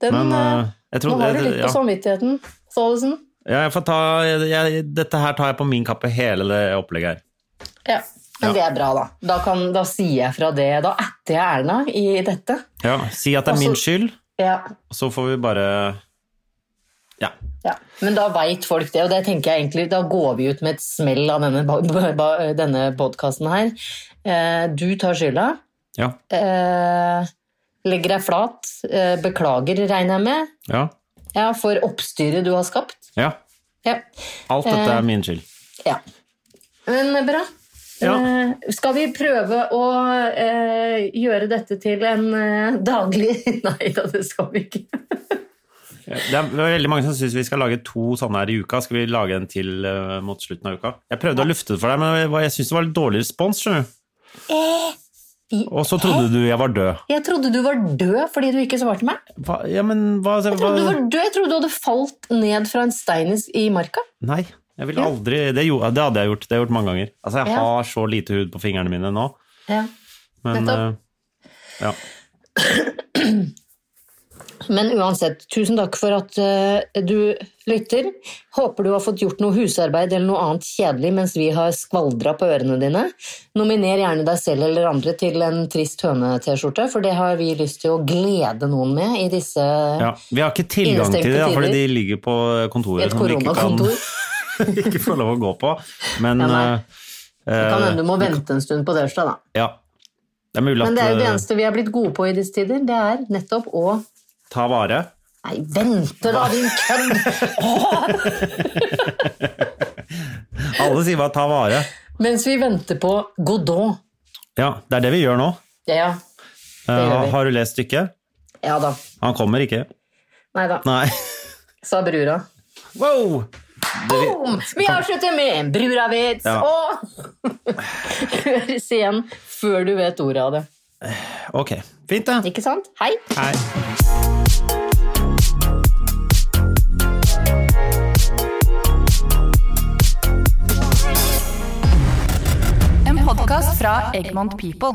Speaker 2: den,
Speaker 1: Men
Speaker 2: eh,
Speaker 1: eh, jeg
Speaker 2: nå
Speaker 1: trodde
Speaker 2: har du litt sånn- på
Speaker 1: ja.
Speaker 2: samvittigheten, Staalesen.
Speaker 1: ja, jeg får ta jeg, Dette her tar jeg på min kappe, hele det opplegget her.
Speaker 2: Ja.
Speaker 1: Ja.
Speaker 2: Men det er bra, da. Da, kan, da sier jeg fra det. Da etter jeg Erna i dette.
Speaker 1: Ja, Si at det er min
Speaker 2: Altså-
Speaker 1: skyld,
Speaker 2: Ja,
Speaker 1: og så får vi bare Ja.
Speaker 2: Ja, Men da veit folk det, og det tenker jeg egentlig, da går vi ut med et smell av denne, ba- ba- ba- denne podkasten her. Eh, Du tar skylda.
Speaker 1: Ja.
Speaker 2: Eh, Legger deg flat. Eh, Beklager, regner jeg med,
Speaker 1: Ja.
Speaker 2: ja, for oppstyret du har skapt.
Speaker 1: ja.
Speaker 2: Ja. Eh.
Speaker 1: Alt dette er min skyld.
Speaker 2: ja. Men eh, bra.
Speaker 1: Ja.
Speaker 2: Eh, Skal vi prøve å eh, gjøre dette til en eh, daglig Nei da, det skal vi ikke.
Speaker 1: Det er veldig mange som syns vi skal lage to sånne her i uka. Skal vi lage en til eh, mot slutten av uka? Jeg prøvde å lufte det for deg, men jeg, var- jeg syns det var litt dårlig respons. skjønner du.
Speaker 2: Eh,
Speaker 1: Og så trodde du jeg var død.
Speaker 2: Jeg trodde du var død fordi du ikke svarte meg.
Speaker 1: Hva, ja, men hva,
Speaker 2: Jeg trodde du
Speaker 1: hva
Speaker 2: var død, jeg trodde du hadde falt ned fra en stein i- i marka.
Speaker 1: Nei, jeg ville aldri det, gjo- det hadde jeg gjort. Det har jeg gjort mange ganger. Altså, jeg
Speaker 2: Ja.
Speaker 1: har så lite hud på fingrene mine nå,
Speaker 2: Ja.
Speaker 1: men eh,
Speaker 2: Nettopp.
Speaker 1: ja.
Speaker 2: Men uansett, tusen takk for at eh, du lytter. Håper du har fått gjort noe husarbeid eller noe annet kjedelig mens vi har skvaldra på ørene dine. Nominer gjerne deg selv eller andre til en trist høne-T-skjorte, for det har vi lyst til å glede noen med i disse
Speaker 1: ja. Vi har ikke tilgang til det, da, fordi de ligger på kontoret
Speaker 2: Et
Speaker 1: som vi ikke kan
Speaker 2: koronakontor.
Speaker 1: ikke får lov å gå på. Men
Speaker 2: Ja, nei.
Speaker 1: eh,
Speaker 2: Det kan
Speaker 1: eh,
Speaker 2: hende du må vente en stund på dørstad, da.
Speaker 1: ja. Det er mulig
Speaker 2: Men det er jo det altså.
Speaker 1: at
Speaker 2: eneste vi har blitt gode på i disse tider. Det er nettopp å
Speaker 1: eh, ta vare.
Speaker 2: Nei, vente da, din kødd!
Speaker 1: Alle sier bare 'ta vare'.
Speaker 2: Mens vi venter på Godot.
Speaker 1: Ja, det er det vi gjør nå.
Speaker 2: Ja,
Speaker 1: Eh,
Speaker 2: gjør vi.
Speaker 1: har du lest stykket?
Speaker 2: ja da.
Speaker 1: Han kommer ikke.
Speaker 2: Nei da,
Speaker 1: Nei.
Speaker 2: sa brura.
Speaker 1: Wow! Det vi,
Speaker 2: Boom! Vi avslutter med en bruravits
Speaker 1: Ja.
Speaker 2: og høres igjen før du vet ordet av det.
Speaker 1: ok, fint det.
Speaker 2: Ikke sant? Hei!
Speaker 1: Hei.
Speaker 3: En podkast fra Egmont People.